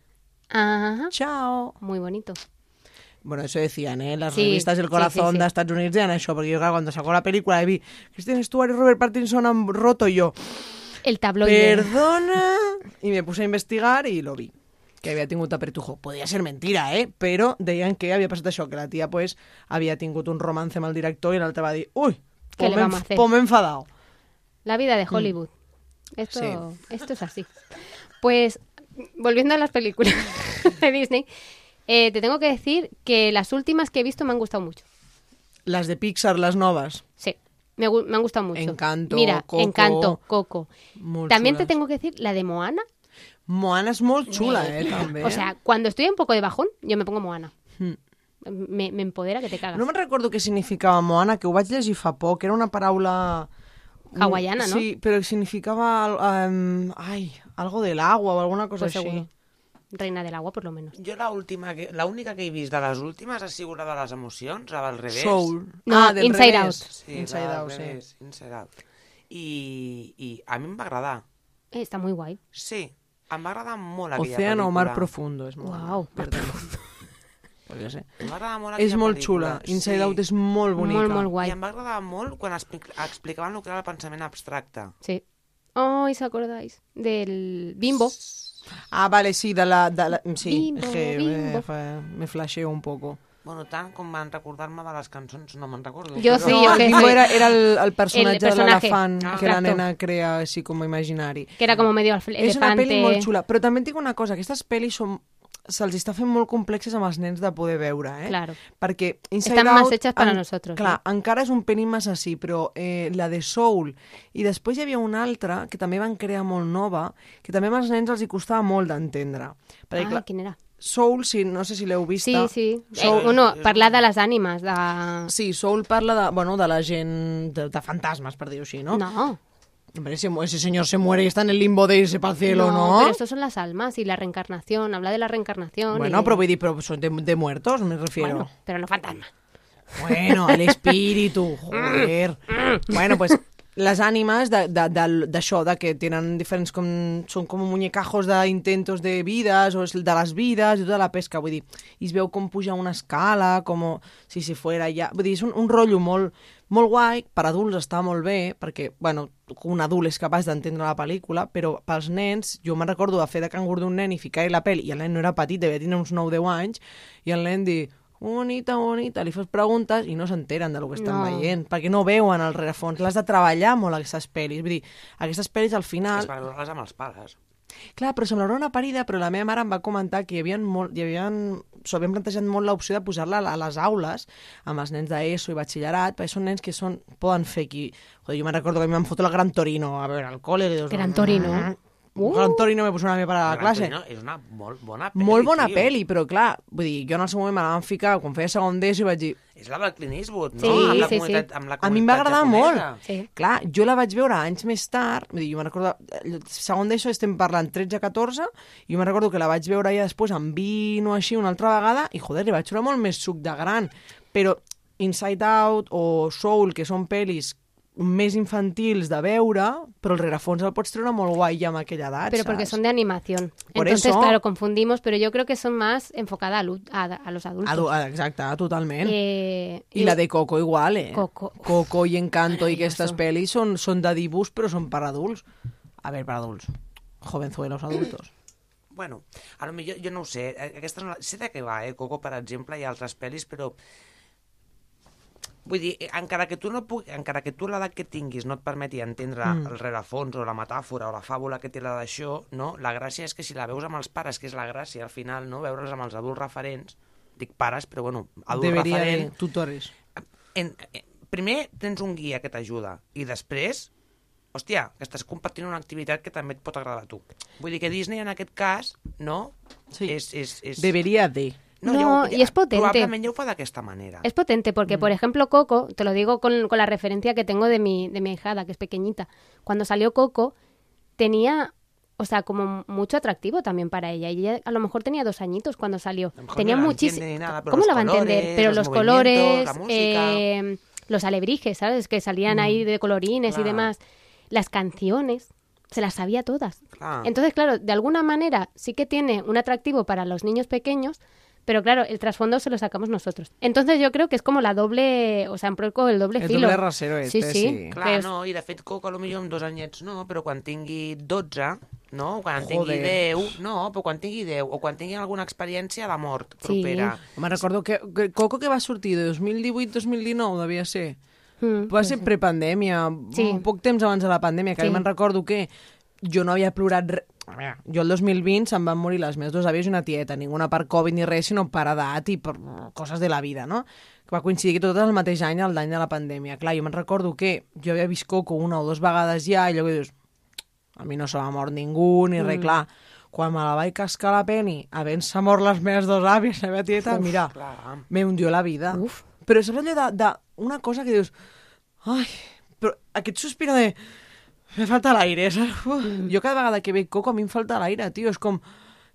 Ajá. chao. Muy bonito. Bueno, eso decían, ¿eh? Las Sí, revistas del sí, corazón sí, sí. de Estados Unidos decían eso, porque yo, claro, cuando sacó la película y vi Kristen Stewart y Robert Pattinson han roto y yo. El tabloide. Perdona. Y me puse a investigar y lo vi. Que había tingut apretujo. Podía ser mentira, ¿eh? Pero deien que había pasado eso, que la tía, pues, había tingut un romance mal director y el altre va dir, uy, Què pues li me, vam a fer?" pues me he enfadado. La vida de Hollywood. Esto, Mm. Sí. esto es así. Pues, volviendo a las películas [laughs] de Disney, eh, te tengo que decir que las últimas que he visto me han gustado mucho. Las de Pixar, las novas. Sí, me, gu- me han gustado mucho. Encanto, Mira, Coco. Encanto, Coco. Molt También xules. te tengo que decir la de Moana. Moana es muy chula, ¿eh? También. O sea, cuando estoy un poco de bajón, yo me pongo Moana. Mm. Me, me empodera que te cagas. eh? No me'n recordo què significava Moana, que ho vaig llegir fa poc, era una paraula... Hawaiana, no? Sí, però significava... Um, ai, algo del agua o alguna cosa Pues així. seguro. Reina del agua, por lo menos. Jo la última que, la única que he vist de les últimes ha sigut la de les emocions, la del revés. Soul. Ah, No, del Inside revés. Out. Sí, Inside la del Out, sí. revés, Inside Out. I, I a mi em va agradar. Eh, está muy guay. Sí, em va agradar molt aquella Océano o pel·lícula. mar profundo és Moana. Uau, mar perdó. [laughs] Podria ser. Em va agradar molt És aquella molt pel·lícula, xula. Inside Out és molt bonica. Molt, molt I guay. em va agradar molt quan expli- explicaven el que era el pensament abstracte. Sí. Ay, ¿se acordáis? Del bimbo. Ah, vale, sí, de la... De la sí, Bimbo, és que eh, bimbo. fa- me flasheo un poco. Bueno, tant com van recordar-me de les cançons, no me'n recordo. però- Jo Ah, Sí, no, jo el que bimbo sé. era, era el, el personatge, personaje. de l'elefant Ah, que la exacto. nena crea així com a imaginari. Que era como medio alf- És una elefante. pel·li molt xula, però també et dic una cosa, aquestes pel·lis són se'ls està fent molt complexes amb els nens de poder veure, eh? Claro. Perquè Inside Estan Out... más hechas para nosotros, Clar, encara és un penim més així, però eh, la de Soul. I després hi havia una altra que també van crear molt nova, que també als nens els hi costava molt d'entendre. Perquè, Ai, clar, quin Ah, era? Soul, si, no sé si l'heu vist... Sí, sí. Soul, Eh, no, parlar de les ànimes, de... Sí, Soul parla de, bueno, de la gent... de, de fantasmes, per dir-ho així, no? No, Hombre, ese, mu- ese señor se muere y está en el limbo de irse para el cielo, ¿no? pero estos son las almas y la reencarnación. Habla de la reencarnación. Bueno, y- pero voy a decir, pero son de, de muertos, me refiero. Bueno, pero no fantasma. Bueno, el espíritu, joder. bueno, pues les ànimes de- de- del- d'això, de, que tenen diferents com... Són com muñecajos d'intentos de vides, o és de les vides, i tota la pesca, vull dir, i es veu com puja una escala, com si si fuera ja... Vull dir, és un, un rotllo molt, molt guai, per adults està molt bé, perquè, bueno, un adult és capaç d'entendre la pel·lícula, però pels nens, jo me'n recordo de fer de cangur d'un nen i ficar-hi la pel·li, i el nen no era petit, devia tenir uns 9-10 anys, i el nen dir, bonita, bonita, li fas preguntes i no s'enteren de lo que estan No. veient, perquè no veuen el rerefons. L'has de treballar molt, aquestes pel·lis. Vull dir, aquestes pel·lis al És final... per veure-les amb els pares. Clar, però semblarà una parida, però la meva mare em va comentar que hi havia molt... Hi havia... S'ho havien plantejat molt l'opció de posar-la a les aules amb els nens d'ESO i batxillerat, perquè són nens que són, poden fer aquí... Joder, jo me'n recordo que a mi em foto el Gran Torino a veure al col·le... que Dius, Gran Torino. Uh! Gran Torino me posarà a mi per a la classe. No, és una molt bona pel·li, Ah, Molt bona tio. pel·li, però clar, vull dir, jo en el seu moment me la van ficar, quan feia segon d'ESO i vaig dir, És la del Clint Eastwood, no? Sí, amb la sí, sí. comunitat, Amb la A mi em va comunitat agradar japonesa. molt. Sí. Clar, jo la vaig veure anys més tard, vull dir, jo me'n recordo, eh, segon d'això estem parlant 13-14, i jo me'n recordo que la vaig veure ja després amb 20 o així una altra vegada, i joder, li vaig veure molt més suc de gran. Però Inside Out o Soul, que són pel·lis més infantils de veure, però el rerefons el pots treure molt guai ja amb aquella edat, Pero porque saps? son de animación. Por Entonces, eso. claro, confundimos, pero yo creo que son más enfocadas a, lu- a- a los adultos. Adu- ah, Exacte, totalment. Eh, I la de Coco igual, eh? Coco. Coco i Encanto i aquestes Maravilloso. pel·lis són, són de dibús, però són per adults. A ver, per adults. Jovenzuelos [clears throat] adultos. Bueno, a lo millor, jo no ho sé, eh, aquesta no la... sé de què va, eh, Coco, per exemple, i altres pel·lis, però... Vull dir, eh, encara que tu, no pugui, encara que tu l'edat que tinguis no et permeti entendre mm. el rerefons o la metàfora o la fàbula que té la d'això, no? la gràcia és que si la veus amb els pares, que és la gràcia al final, no? veure'ls amb els adults referents, dic pares, però bueno, adult Deberia referent, de tutores. en, en, primer tens un guia que t'ajuda i després hòstia, que estàs compartint una activitat que també et pot agradar a tu. Vull dir que Disney, en aquest cas, no? Sí. És, és, és... Debería de. No, y es potente. Probablemente yo fa d'aquesta manera. Es potente porque, Mm. por ejemplo, Coco, te lo digo con, con la referencia que tengo de mi, de mi hijada, que es pequeñita. Cuando salió Coco, tenía, o sea, como mucho atractivo también para ella. Y ella a lo mejor tenía dos añitos cuando salió. A lo mejor Tenía no la muchísimo. entiende ni nada, pero ¿Cómo los la va a entender? colores, Pero los los movimientos, colores, la música. Mm. eh, los alebrijes, ¿sabes? Que salían ahí de colorines Claro. y demás. Las canciones, se las sabía todas. Ah. Clar. Entonces, claro, de alguna manera sí que tiene un atractivo para los niños pequeños, pero claro, el trasfondo se lo sacamos nosotros. Entonces yo creo que es como la doble, o sea, en pro el doble El filo. doble rasero este, sí, sí. sí. Clar, que es- no, i de fet Coco potser amb dos anyets no, però quan tingui 12, no? O Quan en tingui Joder. 10, no, però quan tingui 10, o quan tingui alguna experiència a la mort Sí. propera. Me recordo que, que Coco que va sortir de 2018-2019 devia ser. Mm, Va ser prepandèmia, Sí. un poc temps abans de la pandèmia, que sí. Sí. me'n recordo que jo no havia plorat res. A veure, Jo el 2020 se'n van morir les meves dues àvies i una tieta, ninguna per Covid ni res, sinó per edat i per coses de la vida, no? Que va coincidir que tot el mateix any, el d'any de la pandèmia. Clar, jo me'n recordo que jo havia vist Coco una o dues vegades ja i llavors dius, a mi no se m'ha mort ningú ni res, clar. Quan me la vaig cascar la Penny, havent-se mort les meves dos àvies, la meva tieta, mira, clar. me hundió la vida. Uf. Però és allò de, de una cosa que dius... Ai, però aquest sospir de... Me falta l'aire, [laughs] saps? Uf, Mm. Jo cada vegada que veig Coco a mi em falta l'aire, tio. És com...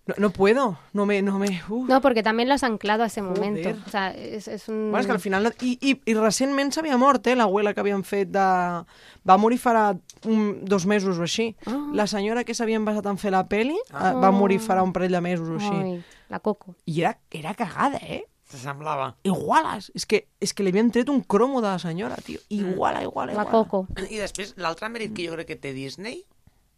No, no puedo, no me... No me uf. No, porque también lo has anclado a ese Joder. momento. O sea, es, es un... Bueno, és que al final... No... I, i, I recentment s'havia mort, eh, l'abuela que havien fet de... Va morir farà un, dos mesos o així. Ah. La senyora que s'havien basat en fer la peli ah. va morir farà un parell de mesos o així. Ay, la Coco. I era, era cagada, eh? Se semblava. Iguales. És que, és que li havien tret un cromo de la senyora, tio. Iguala, iguala, Mm. La iguala. Coco. I després, l'altre mèrit que jo crec que té Disney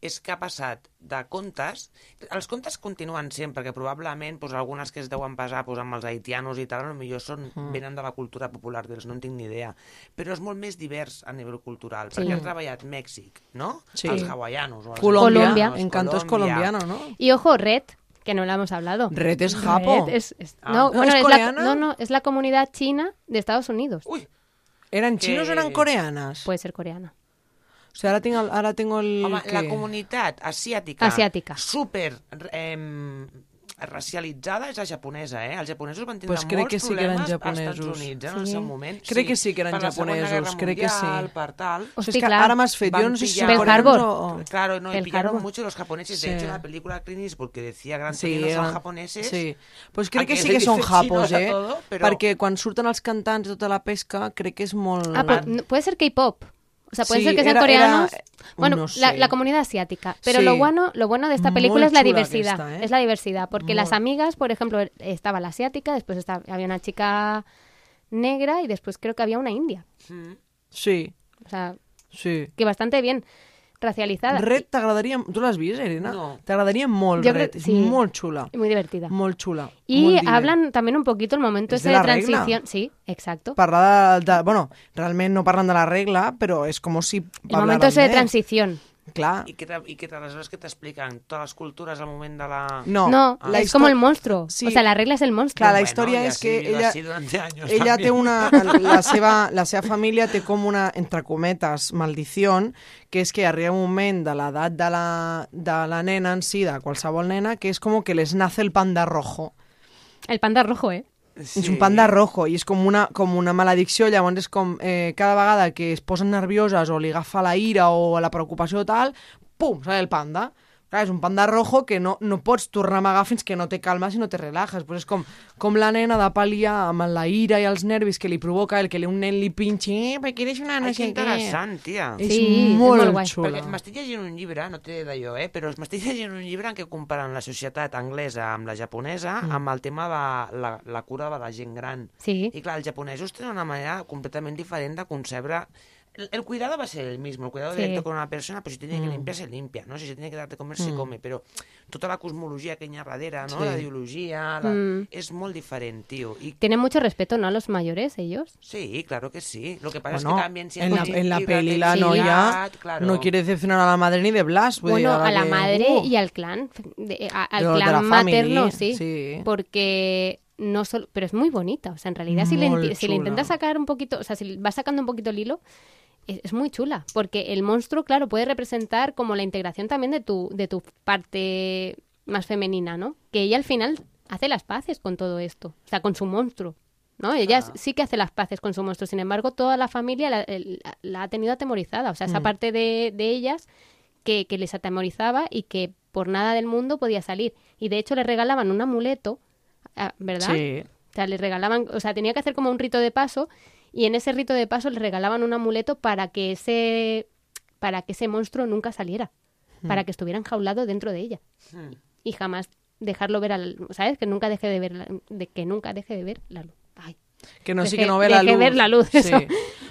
és que ha passat de contes... Els contes continuen sent, perquè probablement doncs, algunes que es deuen basar doncs, amb els haitianos i tal, potser són, Mm. venen de la cultura popular d'ells, no en tinc ni idea. Però és molt més divers a nivell cultural, Sí. perquè han treballat Mèxic, no? Sí. Els hawaianos. O els Colombia. Colombia. haitianos, Encanto es colombiano, ¿no? Y ojo, Red, que no la hemos hablado. Red es japo. Red es, es- Ah. no, No, bueno, ¿es es la- coreana? no, no, es la comunidad china de Estados Unidos. Ui, ¿Eran chinos o eran Que- coreanas? Puede ser coreana. O sea, ahora tengo, ahora tengo el... Home, la que- comunitat asiàtica, Asiàtica. super eh, racialitzada és la japonesa, eh? Els japonesos van tindre Pues crec molts que sí que eren problemes als japonesos. Estats Units, eh, en el Sí. seu moment. Crec que sí que eren per la Segona japonesos, Guerra crec que sí. Mundial, Per tal. O sea, Hosti, es que clar. ahora más feo, yo no sé si son Pearl coreanos Harbor. o- o- Claro, no, y Pearl pillaron Harbor. mucho los japoneses. Sí. De hecho, la película Clint Eastwood que decía Gran Torino eran- son japoneses. eh, Sí. Pues crec que Aquí sí se que són dice japos, chinos a eh? todo, però- Perquè quan surten els cantants de tota la pesca, crec que és molt... Ah, pues, no- puede ser K-pop. O sea, pueden Sí, ser que sean era- coreanos. era- Bueno, no la, sé. la comunidad asiática. Pero Sí. lo bueno, lo bueno de esta Muy película es chula la que diversidad. está, ¿eh? Es la diversidad. Porque las Muy. amigas, por ejemplo, estaba la asiática, después estaba- había una chica negra y después creo que había una india. Mm. Sí, O sea, sí. que bastante bien racializada. Red t'agradaria... Tu l'has vist, Elena? No. T'agradaria molt, Jo Red. crec- És sí. molt xula. Y muy divertida. Molt xula. y molt divertida. hablan también un poquito el momento Es ese de de, la regla. transición. Sí, exacto. Parlar de, de... Bueno, realment no parlen de la regla, però és com si... eh? el momento ese de transición. Clar. I que, te- i que te- aleshores que t'expliquen totes les cultures al moment de la... No, No, la es como histo- el monstruo. Sí. O sea, la regla es el monstruo. Clar, la Bueno, història ja és s'hi que viu ella- així durante años, Ella también. té una... La seva, la seva família té com una, entre cometes, maldició, que és que arriba un moment de l'edat de la, de la nena en si, de qualsevol nena, que és com que les nace el panda rojo. El panda rojo, ¿eh? Sí. És un panda rojo i és com una, com una maledicció. Llavors és com eh, cada vegada que es posen nervioses o li agafa la ira o la preocupació o tal, pum, sale el panda. Clar, és un panda rojo que no, no pots tornar a amagar fins que no te calmes i no te relajes. Pues és com, com la nena de pal·liar amb la ira i els nervis que li provoca el que li, un nen li pinxi, eh, perquè eres una no Ai, que sé què. interessant, tia. És Sí, és molt, molt guai. xula. Perquè m'estic llegint un llibre, no té d'allò, eh? però m'estic [laughs] llegint un llibre en què comparen la societat anglesa amb la japonesa mm. amb el tema de la, la cura de la gent gran. Sí. I clar, els japonesos tenen una manera completament diferent de concebre el, el cuidado va a ser el mismo, el cuidado Sí. directo con una persona, pues si tiene que Mm. limpiar, se limpia, ¿no? Si se tiene que dar de comer, se come, però tota la cosmologia que hi ha darrere, no? Sí. La ideologia, la... Mm. és molt diferent, tio. I Tienen mucho respeto, ¿no? A los mayores, ellos. Sí, claro que sí. Lo que pasa es Bueno, que también en la, en la peli la Sí. noia Ah, claro. no quiere decepcionar a la madre ni de Blas. vull dir, Bueno, ara a la que- madre Uh. y al clan, de- a- al De los de clan la family, materno, sí, sí. porque no solo, pero es muy bonita, o sea, en realidad si le, Molt inti- si xula. le intentas sacar un poquito, o sea, si vas sacando un poquito el hilo, es, es muy chula, porque el monstruo, claro, puede representar como la integración también de tu, de tu parte más femenina, ¿no? Que ella al final hace las paces con todo esto, o sea, con su monstruo, ¿no? Ella Ah. sí que hace las paces con su monstruo, sin embargo, toda la familia la, el- la- la ha tenido atemorizada, o sea, esa Mm. parte de, de ellas que, que les atemorizaba y que por nada del mundo podía salir. Y de hecho le regalaban un amuleto, ah, ¿verdad? Sí. O sea, le regalaban, o sea, tenía que hacer como un rito de paso y en ese rito de paso le regalaban un amuleto para que ese para que ese monstruo nunca saliera, Hmm. para que estuviera enjaulado dentro de ella Hmm. y jamás dejarlo ver al, ¿sabes? Que nunca deje de ver la, de que nunca deje de ver la luz. Ay. Que no, sí Dejé- que no ve la dejé luz. ver la luz, eso.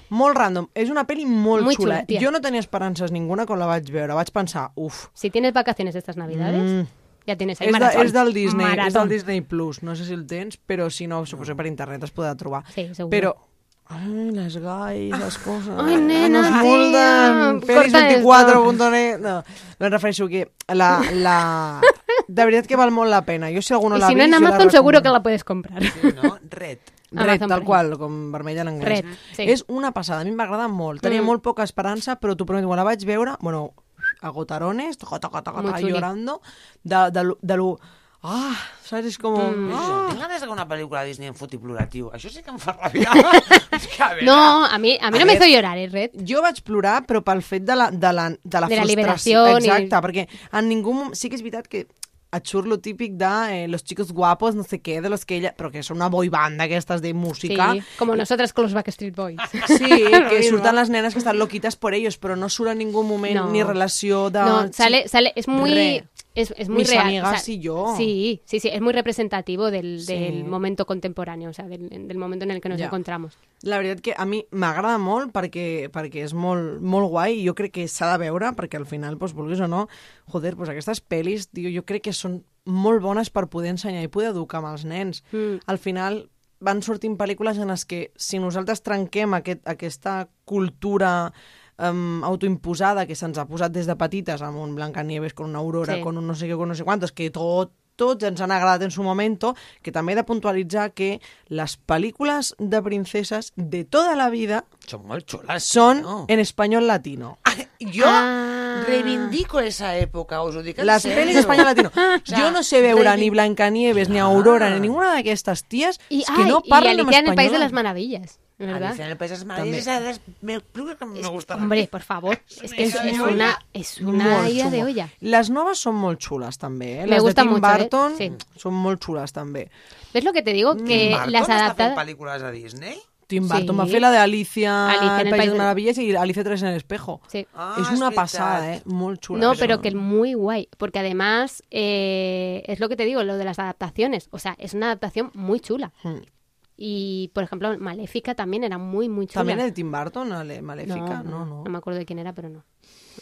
Molt random. És una pel·li molt Muy xula. xula, tia. jo no tenia esperances ninguna quan la vaig veure. Vaig pensar, uf, Si tienes vacaciones estas Navidades, Mm. ya tienes ahí és, de, maratón. és del Disney, és Maratón. del Disney Plus. No sé si el tens, però si no, suposo que per internet es podrà trobar. Sí, segur. Ah. Però Ai, les gais, les coses... Ai, nena, Nos tia, multen. Feliç corta 24.net. No, no em refereixo que la, la... [laughs] De veritat que val molt la pena. Jo si algú no y l'ha si no vist... en jo la Amazon seguro que recomano. la puedes comprar. Sí, no? Red. Red, Amazon tal Prime. qual, com vermella en anglès. Red, sí. És una passada, a mi em va agradar molt. Tenia Mm. molt poca esperança, però t'ho prometo, quan la vaig veure, bueno, a gotarones, toca, toca, toca, Muy toca, chuli. llorando, de, de, lo- de lo... Ah, saps? És com... Mm. Això, Ah. tinc ganes de que una pel·lícula de Disney en foti ploratiu. Això sí que em fa [laughs] ràbia. és que, a veure... No, a mí a mí A no me ver. hizo llorar, ¿eh, Red? Jo vaig plorar, però pel fet de la, de la, de la De la frustració. liberación i- Exacte, i... perquè en ningú... mom- Sí que és veritat que et surt lo típic de eh, los chicos guapos, no sé què, de los que ella... Però que són una boy banda aquestes de música. Sí, como nosotras con los Backstreet Boys. Sí, [laughs] que mismo. surtan las nenas que están loquitas por ellos, pero no sura en ningún momento No. ni relación de... No, sale, sale, es muy, Re. es, es muy Mis real. amigas y yo. Sí, sí, sí, es muy representativo del, Sí. del momento contemporáneo, o sea, del, del momento en el que nos Ya. encontramos. La veritat que a mi m'agrada molt perquè, perquè és molt, molt guai i jo crec que s'ha de veure perquè al final, doncs, vulguis o no, joder, doncs aquestes pel·lis, tio, jo crec que són molt bones per poder ensenyar i poder educar amb els nens. Mm. Al final van sortint pel·lícules en les que si nosaltres trenquem aquest, aquesta cultura um, autoimposada que se'ns ha posat des de petites amb un Blancanieves, con una Aurora, Sí. con un no sé què, con no sé quantos, que tot tots ens han agradat en su momento, que també he de puntualitzar que les pel·lícules de princeses de tota la vida Són molt xules. són no? en espanyol latino. Ah, jo Ah. reivindico esa època, us ho dic en Les sèrio. pel·lis d'espanyol [laughs] [laughs] latino. sea, Jo no sé veure ni reivindic- Blancanieves, ni Aurora, ni ninguna d'aquestes ties Y, és que ay, no y Alicia parlen en en el País de espanyol. las Maravillas, ¿Verdad? ¿verdad? el País de las Maravillas es de las- me, creo que me gusta. Hombre, por favor, es que es, idea de es olla. una, es una Molt idea de xulo. olla. Les noves són molt xules, també. Eh? Me Les de gusta Tim mucho, eh? Burton Sí. són molt xules, també. ¿Ves lo que te Mm. digo? Que eh, las adaptadas... películas de Disney? Tim Burton Sí. va fer la de Alicia, Alicia el País de les Meravillas i Alicia 3 en el espejo. Sí. Ah, és és una veritat. passada, eh? Molt xula. No, això. pero que es muy guay, porque además eh, es lo que te digo, lo de las adaptaciones, o sea, es una adaptación muy chula. Mm. Y, por ejemplo, Maléfica también era muy, muy chula. También el Tim Burton, Ale- Maléfica, no, no. me acuerdo de quién era, pero no.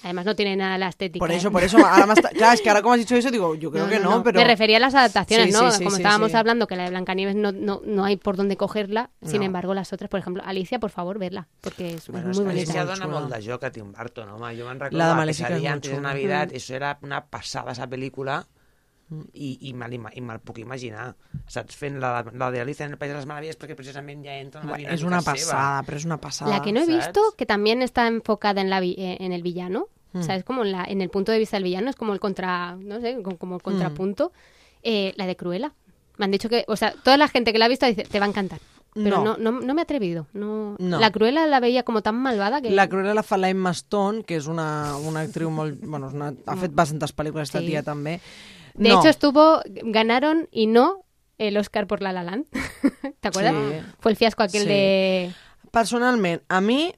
Además no tiene nada la estética. Por ¿eh? eso, por eso, ahora más ta- Claro, es que ahora como has dicho eso, digo, yo creo que no, pero... Me refería a las adaptaciones, Sí, ¿no? sí, sí, Como sí, estábamos sí. hablando, que la de Blancanieves no, no, no hay por dónde cogerla. Sin No. embargo, las otras, por ejemplo, Alicia, por favor, verla, porque es Bueno, muy és que bonita. Alicia dona Xula. molt de joc a Tim Burton, home. Jo me'n recordo La de la Maléfica és pesadilla molt antes de xula. Mm. Navidad. Eso era una passada, esa pel·lícula. I, i, me l'ima- i me'l puc imaginar. Saps? Fent la, la de Alicia en el País de les Meravilles perquè precisament ja entra en la Bueno, dinàmica es una seva. pasada, pero es una pasada. La que no he ¿sabes? visto, que también está enfocada en, la vi- eh, en el villano, o Hmm. sea, es como en, la, en el punto de vista del villano, es como el contra, no sé, como- Hmm. como el contrapunto, eh, la de Cruella. Me han dicho que, o sea, toda la gente que la ha visto dice, te va a encantar. Pero No. no, no, no me he atrevido. No. No. La Cruella la veía como tan malvada que... La Cruella la fa la Emma Stone, que és una, una actriu molt... Bueno, és una, ha fet bastantes pel·lícules, esta Mm. Sí. tia, també. De no. hecho, estuvo, ganaron y no el Oscar por La La Land. [laughs] ¿Te acuerdas? Sí. Fue el fiasco aquel Sí. de... Personalment, a mi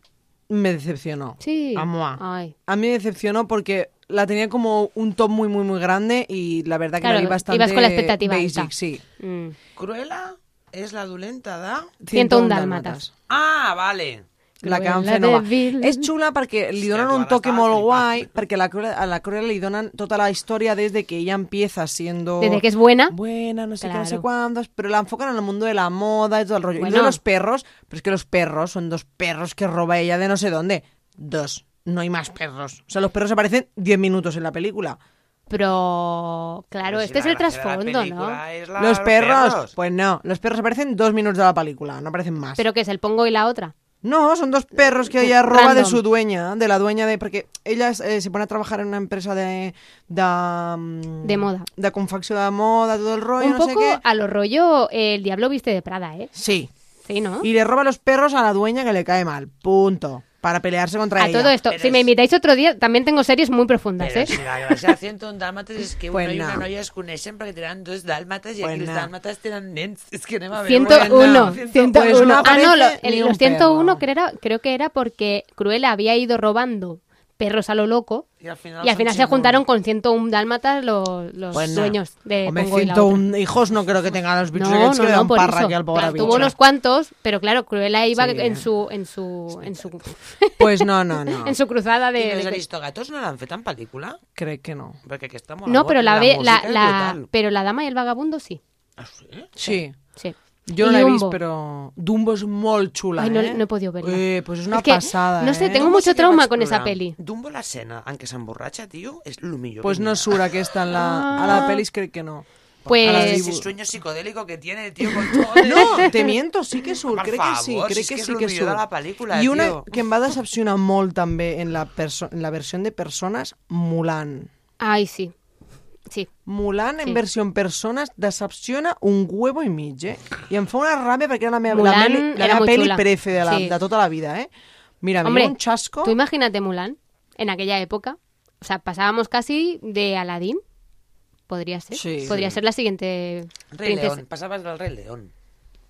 me decepcionó. Sí. Ah, A moi. Ay. A mí me decepcionó porque la tenía como un top muy, muy, muy grande y la verdad que Claro, la vi bastante ibas con la expectativa basic, alta. sí. Mm. Cruella és la dolenta de... 101 101 dálmatas. Ah, vale. La que han Cruella fet nova. de Vil. És xula perquè li Hòstia, donen tu un ara toque estàs molt flipant. guai, perquè a la Cruella, a la Cruella li donen tota la història desde que ella empieza siendo... Desde que es buena. Buena, no sé qué, no sé Claro. cuántos, pero la enfocan en el mundo de la moda y todo el rollo. Y Bueno. lo de los perros, pero es que los perros son dos perros que roba ella de no sé dónde. Dos. No hay más perros. O sea, los perros aparecen 10 minutos en la película. Pero, claro, Però si este es la el gràcia de la trasfondo, ¿no? película és la- Pues los perros. Pues no, los perros aparecen dos minutos de la película, no aparecen más. ¿Pero qué es? ¿El pongo y la otra? No, son dos perros que ella roba de Random. su dueña, de la dueña de... Porque ella es, eh, se pone a trabajar en una empresa de... De, mm, De moda. De confecció de moda, todo el rollo, Un no sé poco qué. a lo rollo eh, El Diablo Viste de Prada, ¿eh? Sí. Sí, ¿no? Y le roba los perros a la dueña que le cae mal. Punto. Para pelearse contra A ella. todo esto. Pero Si me es- invitáis otro dia, también tengo series muy profundas, Però ¿eh? si la gràcia de 101 dàlmates és que un Pues noi i una no. noia es coneixen perquè tenen dos dàlmates i Pues aquí els no. dàlmates tenen nens. És que anem a veure. Bueno, 101, no. 101. Pues no ah, no, lo- aparece el- ni un los 101 perro. que era, creo que era porque Cruella había ido robando perros a lo loco I al final, y al són final se 101. juntaron con 101 dálmatas los, los Pues no. dueños de Hombre, Pongo y la otra. 101 hijos no creo que tenga los bichos aquellos que le dan por parra eso. aquí al pobre Claro, bicho. Tuvo unos cuantos, pero claro, Cruella iba Sí. en su en su en su Pues no, no, no. [laughs] en su cruzada I de, els de- aristogatos no l'han fet en pel·lícula? Creo que no. Perquè aquesta mola No, molt. pero la, ve- la, música és la- brutal. pero la dama y el vagabundo sí. Ah, sí? Sí. Sí. Yo Y no la he Dumbo. visto, pero Dumbo es muy chula. Ay, no, ¿eh? no he podido verla. Eh, pues es una Es que, pasada. no sé, ¿eh? tengo Dumbo mucho sí que trauma vaig con esa plorar. peli. Dumbo l'escena en què s'emborratxa, tio, és el millor. Pues que no hi ha. sura que está en la. A la Ah. pelis creo que no. A la Ahora de Pues dibujo. ese sueño psicodélico que tiene, tío, con [laughs] todo No, te miento, sí que surt, Per crec que sí, favor, crec si és que que és sí lo que millor surt. de la pel·lícula, I una tio. que em va decepcionar molt també en la, perso en la versió de persones, Mulan. ay, sí. Sí. Mulan en Sí. versió en persones decepciona un huevo i mig, eh? I em fa una ràbia perquè era la meva, la Mulan meli, la era meva muy peli chula. prefe de, la, Sí. de tota la vida, eh? Mira, me Hombre, dio un chasco. Tú imagínate Mulan en aquella época. O sea, pasábamos casi de Aladdin. Podría ser. Sí. Podría ser la siguiente Rei princesa. León, pasabas del Rei León.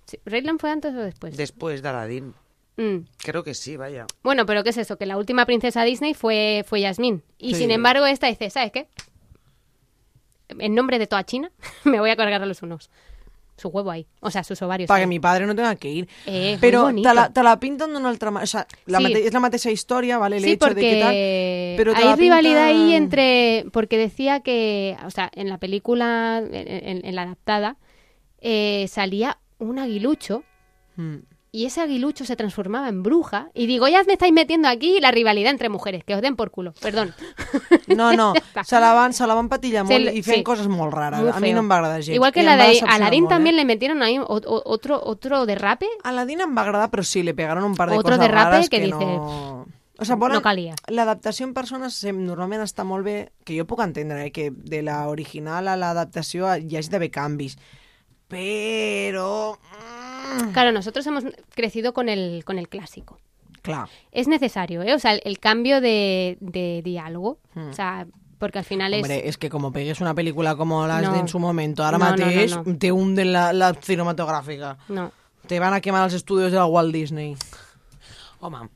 Sí, ¿Rey León fue antes o después? Después de Aladdin. Mm. Creo que sí, vaya. Bueno, pero ¿qué es eso? Que la última princesa Disney fue, fue Yasmín. Y Sí. sin embargo, esta dice, ¿sabes qué? En nombre de toda China, [laughs] me voy a cargar a los unos. Su huevo ahí. O sea, sus ovarios. Para que ahí. mi padre no tenga que ir. Eh, es Pero muy bonito. te la, te la pintan de una otra manera. O sea, la Sí. mate- es la mateixa historia, ¿vale? El sí, hecho de que tal. porque pero te hay la rivalidad ahí pintan- entre... Porque decía que, o sea, en la película, en, en- en la adaptada, eh, salía un aguilucho Mm. y ese aguilucho se transformaba en bruja. Y digo, ya me estáis metiendo aquí la rivalidad entre mujeres, que os den por culo. Perdón. [laughs] No, [laughs] no, está. se la van, se la van patillar Se molt l- i fent sí. coses molt rares. Muy a mi feo. no em va agradar gens. Igual que I la em va de decepcionar Aladdin molt, también eh? le metieron ahí o- o- otro, otro derrape. Aladdin em va agradar, però sí, li pegaron un par de Otro coses derrape rares que que, dices, no... O sea, volen... no calia. L'adaptació en persones sem- normalment està molt bé, que jo puc entendre, eh, que de la original a l'adaptació hi hagi d'haver canvis. Però... Mm, Claro, nosotros hemos crecido con el, con el clásico. clar. Es necesario, ¿eh? O sea, el, el cambio de, de diálogo. Hmm. O sea, porque al final es... Hombre, es que como pegues una película como las No. de en su momento, ahora No, no, no, mateix no. te hunden la, la cinematográfica. No. Te van a quemar els estudios de la Walt Disney. Home,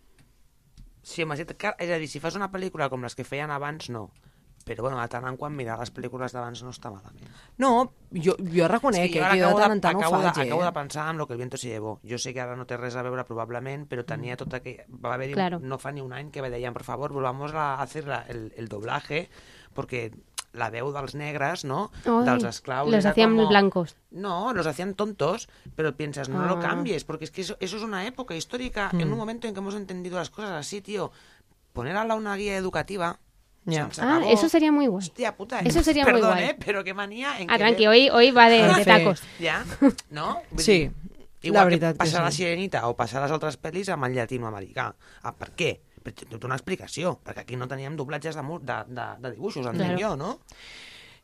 Sí, home, sí, clar, és a dir, si fas una pel·lícula com les que feien abans, no. Però bueno, de tant en quan mirar les pel·lícules d'abans no està malament. No, jo, jo reconec Eh, Sí, que jo ara aquí de tant en tant ho acabo, faig, de, eh? acabo de pensar en lo que el viento se llevó. Jo sé que ara no té res a veure probablement, però tenia tot aquell... Va haver Mm. Claro. claro. no fa ni un any que me deien, por favor, volvamos a hacer la, el, el doblaje, perquè la veu dels negres, no? Ay, dels esclaus... los era hacían como- blancos. No, los hacían tontos, pero piensas, no Ah. Mm. lo cambies, porque es que eso, eso es una época histórica, en un momento en que hemos entendido las cosas así, tío. Poner a la una guía educativa... Ya. se Ah, acabó. eso sería muy guay. Hostia puta, eh. Eso sería muy Perdón, guay. eh, pero qué manía en Ah, que- tranqui, hoy, hoy va de, de Sí. tacos. [laughs] ja, no? Vull Sí, dir, la igual veritat que que passar sí. la Sirenita o passar les altres pel·lis amb el llatinoamericà. Ah, per què? Però té tota una explicació, perquè aquí no teníem doblatges de, mu- de, de, de dibuixos, entenc Claro. jo, no?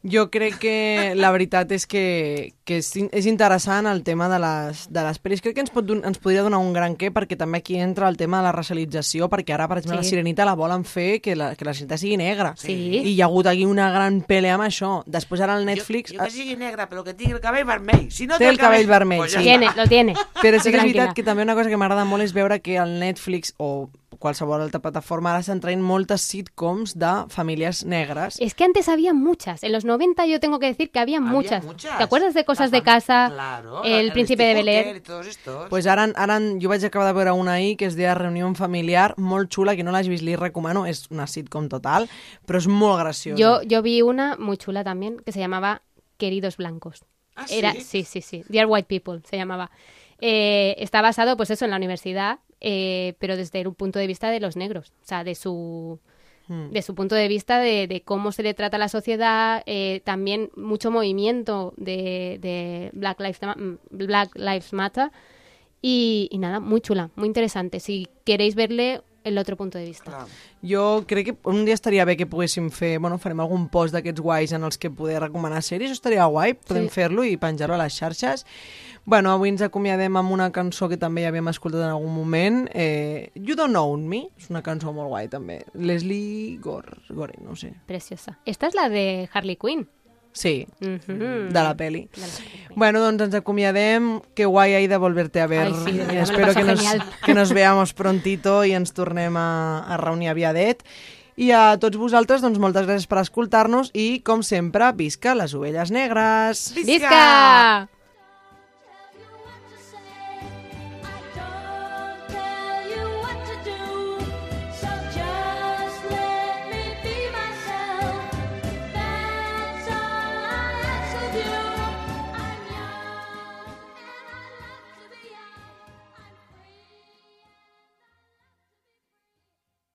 Jo crec que la veritat és que, que és, in- és interessant el tema de les, de les pel·lis. Crec que ens, pot, don- ens podria donar un gran què, perquè també aquí entra el tema de la racialització, perquè ara, per exemple, Sí. la Sirenita la volen fer que la, que la Sirenita sigui negra. Sí. I hi ha hagut aquí una gran pelea amb això. Després ara el Netflix... Jo, jo que sigui negre, però que tingui el cabell vermell. Si no Té té el cabell vermell, pues sí. està. Tiene, lo [laughs] tiene. Però sí que és Tranquila. veritat que també una cosa que m'agrada molt és veure que al Netflix o qualsevol altra plataforma ara s'han traient moltes sitcoms de famílies negres. Es que antes había muchas. En los 90 yo tengo que decir que había, Había muchas. ¿Te acuerdas de Cosas de La fam- Casa? Claro, el, Príncipe de Steve Bel Air. Booker i Tots estos. Pues ara, ara jo vaig acabar de veure una ahir que es deia Reunió familiar, molt xula, que no l'has vist, li recomano, és una sitcom total, però és molt graciosa. Yo, yo vi una muy chula también que se llamaba Queridos Blancos. ¿Ah, Era, sí? sí, sí, sí. Dear White People se llamaba. Eh, está basado, pues eso, en la universidad, eh, pero desde un punto de vista de los negros. O sea, de su, Hmm. de su punto de vista de, de cómo se le trata a la sociedad. eh, también mucho movimiento de, de Black, Lives, Ma- Black Lives mm, Matter. Y, y nada, muy chula, muy interesante. Si queréis verle el otro punto de vista. Clar. Jo crec que un dia estaria bé que poguéssim fer... Bueno, farem algun post d'aquests guais en els que poder recomanar sèries. Això estaria guai, podem Sí. fer-lo i penjar-ho a les xarxes. Bueno, avui ens acomiadem amb una cançó que també ja havíem escoltat en algun moment. Eh, you Don't Own Me, és una cançó molt guai també. Leslie Gore, Gore no ho sé. Preciosa. Esta es la de Harley Quinn. Sí, Ujú. de la peli. Mm. De la Harley Quinn. Bueno, doncs ens acomiadem. Que guai, Aida, volverte a ver. Ai, sí, de veritat, me lo Espero paso que nos, genial. [laughs] que nos veamos prontito i ens tornem a, a reunir aviadet. I a tots vosaltres, doncs, moltes gràcies per escoltar-nos i, com sempre, visca les ovelles negres! ¡Visca!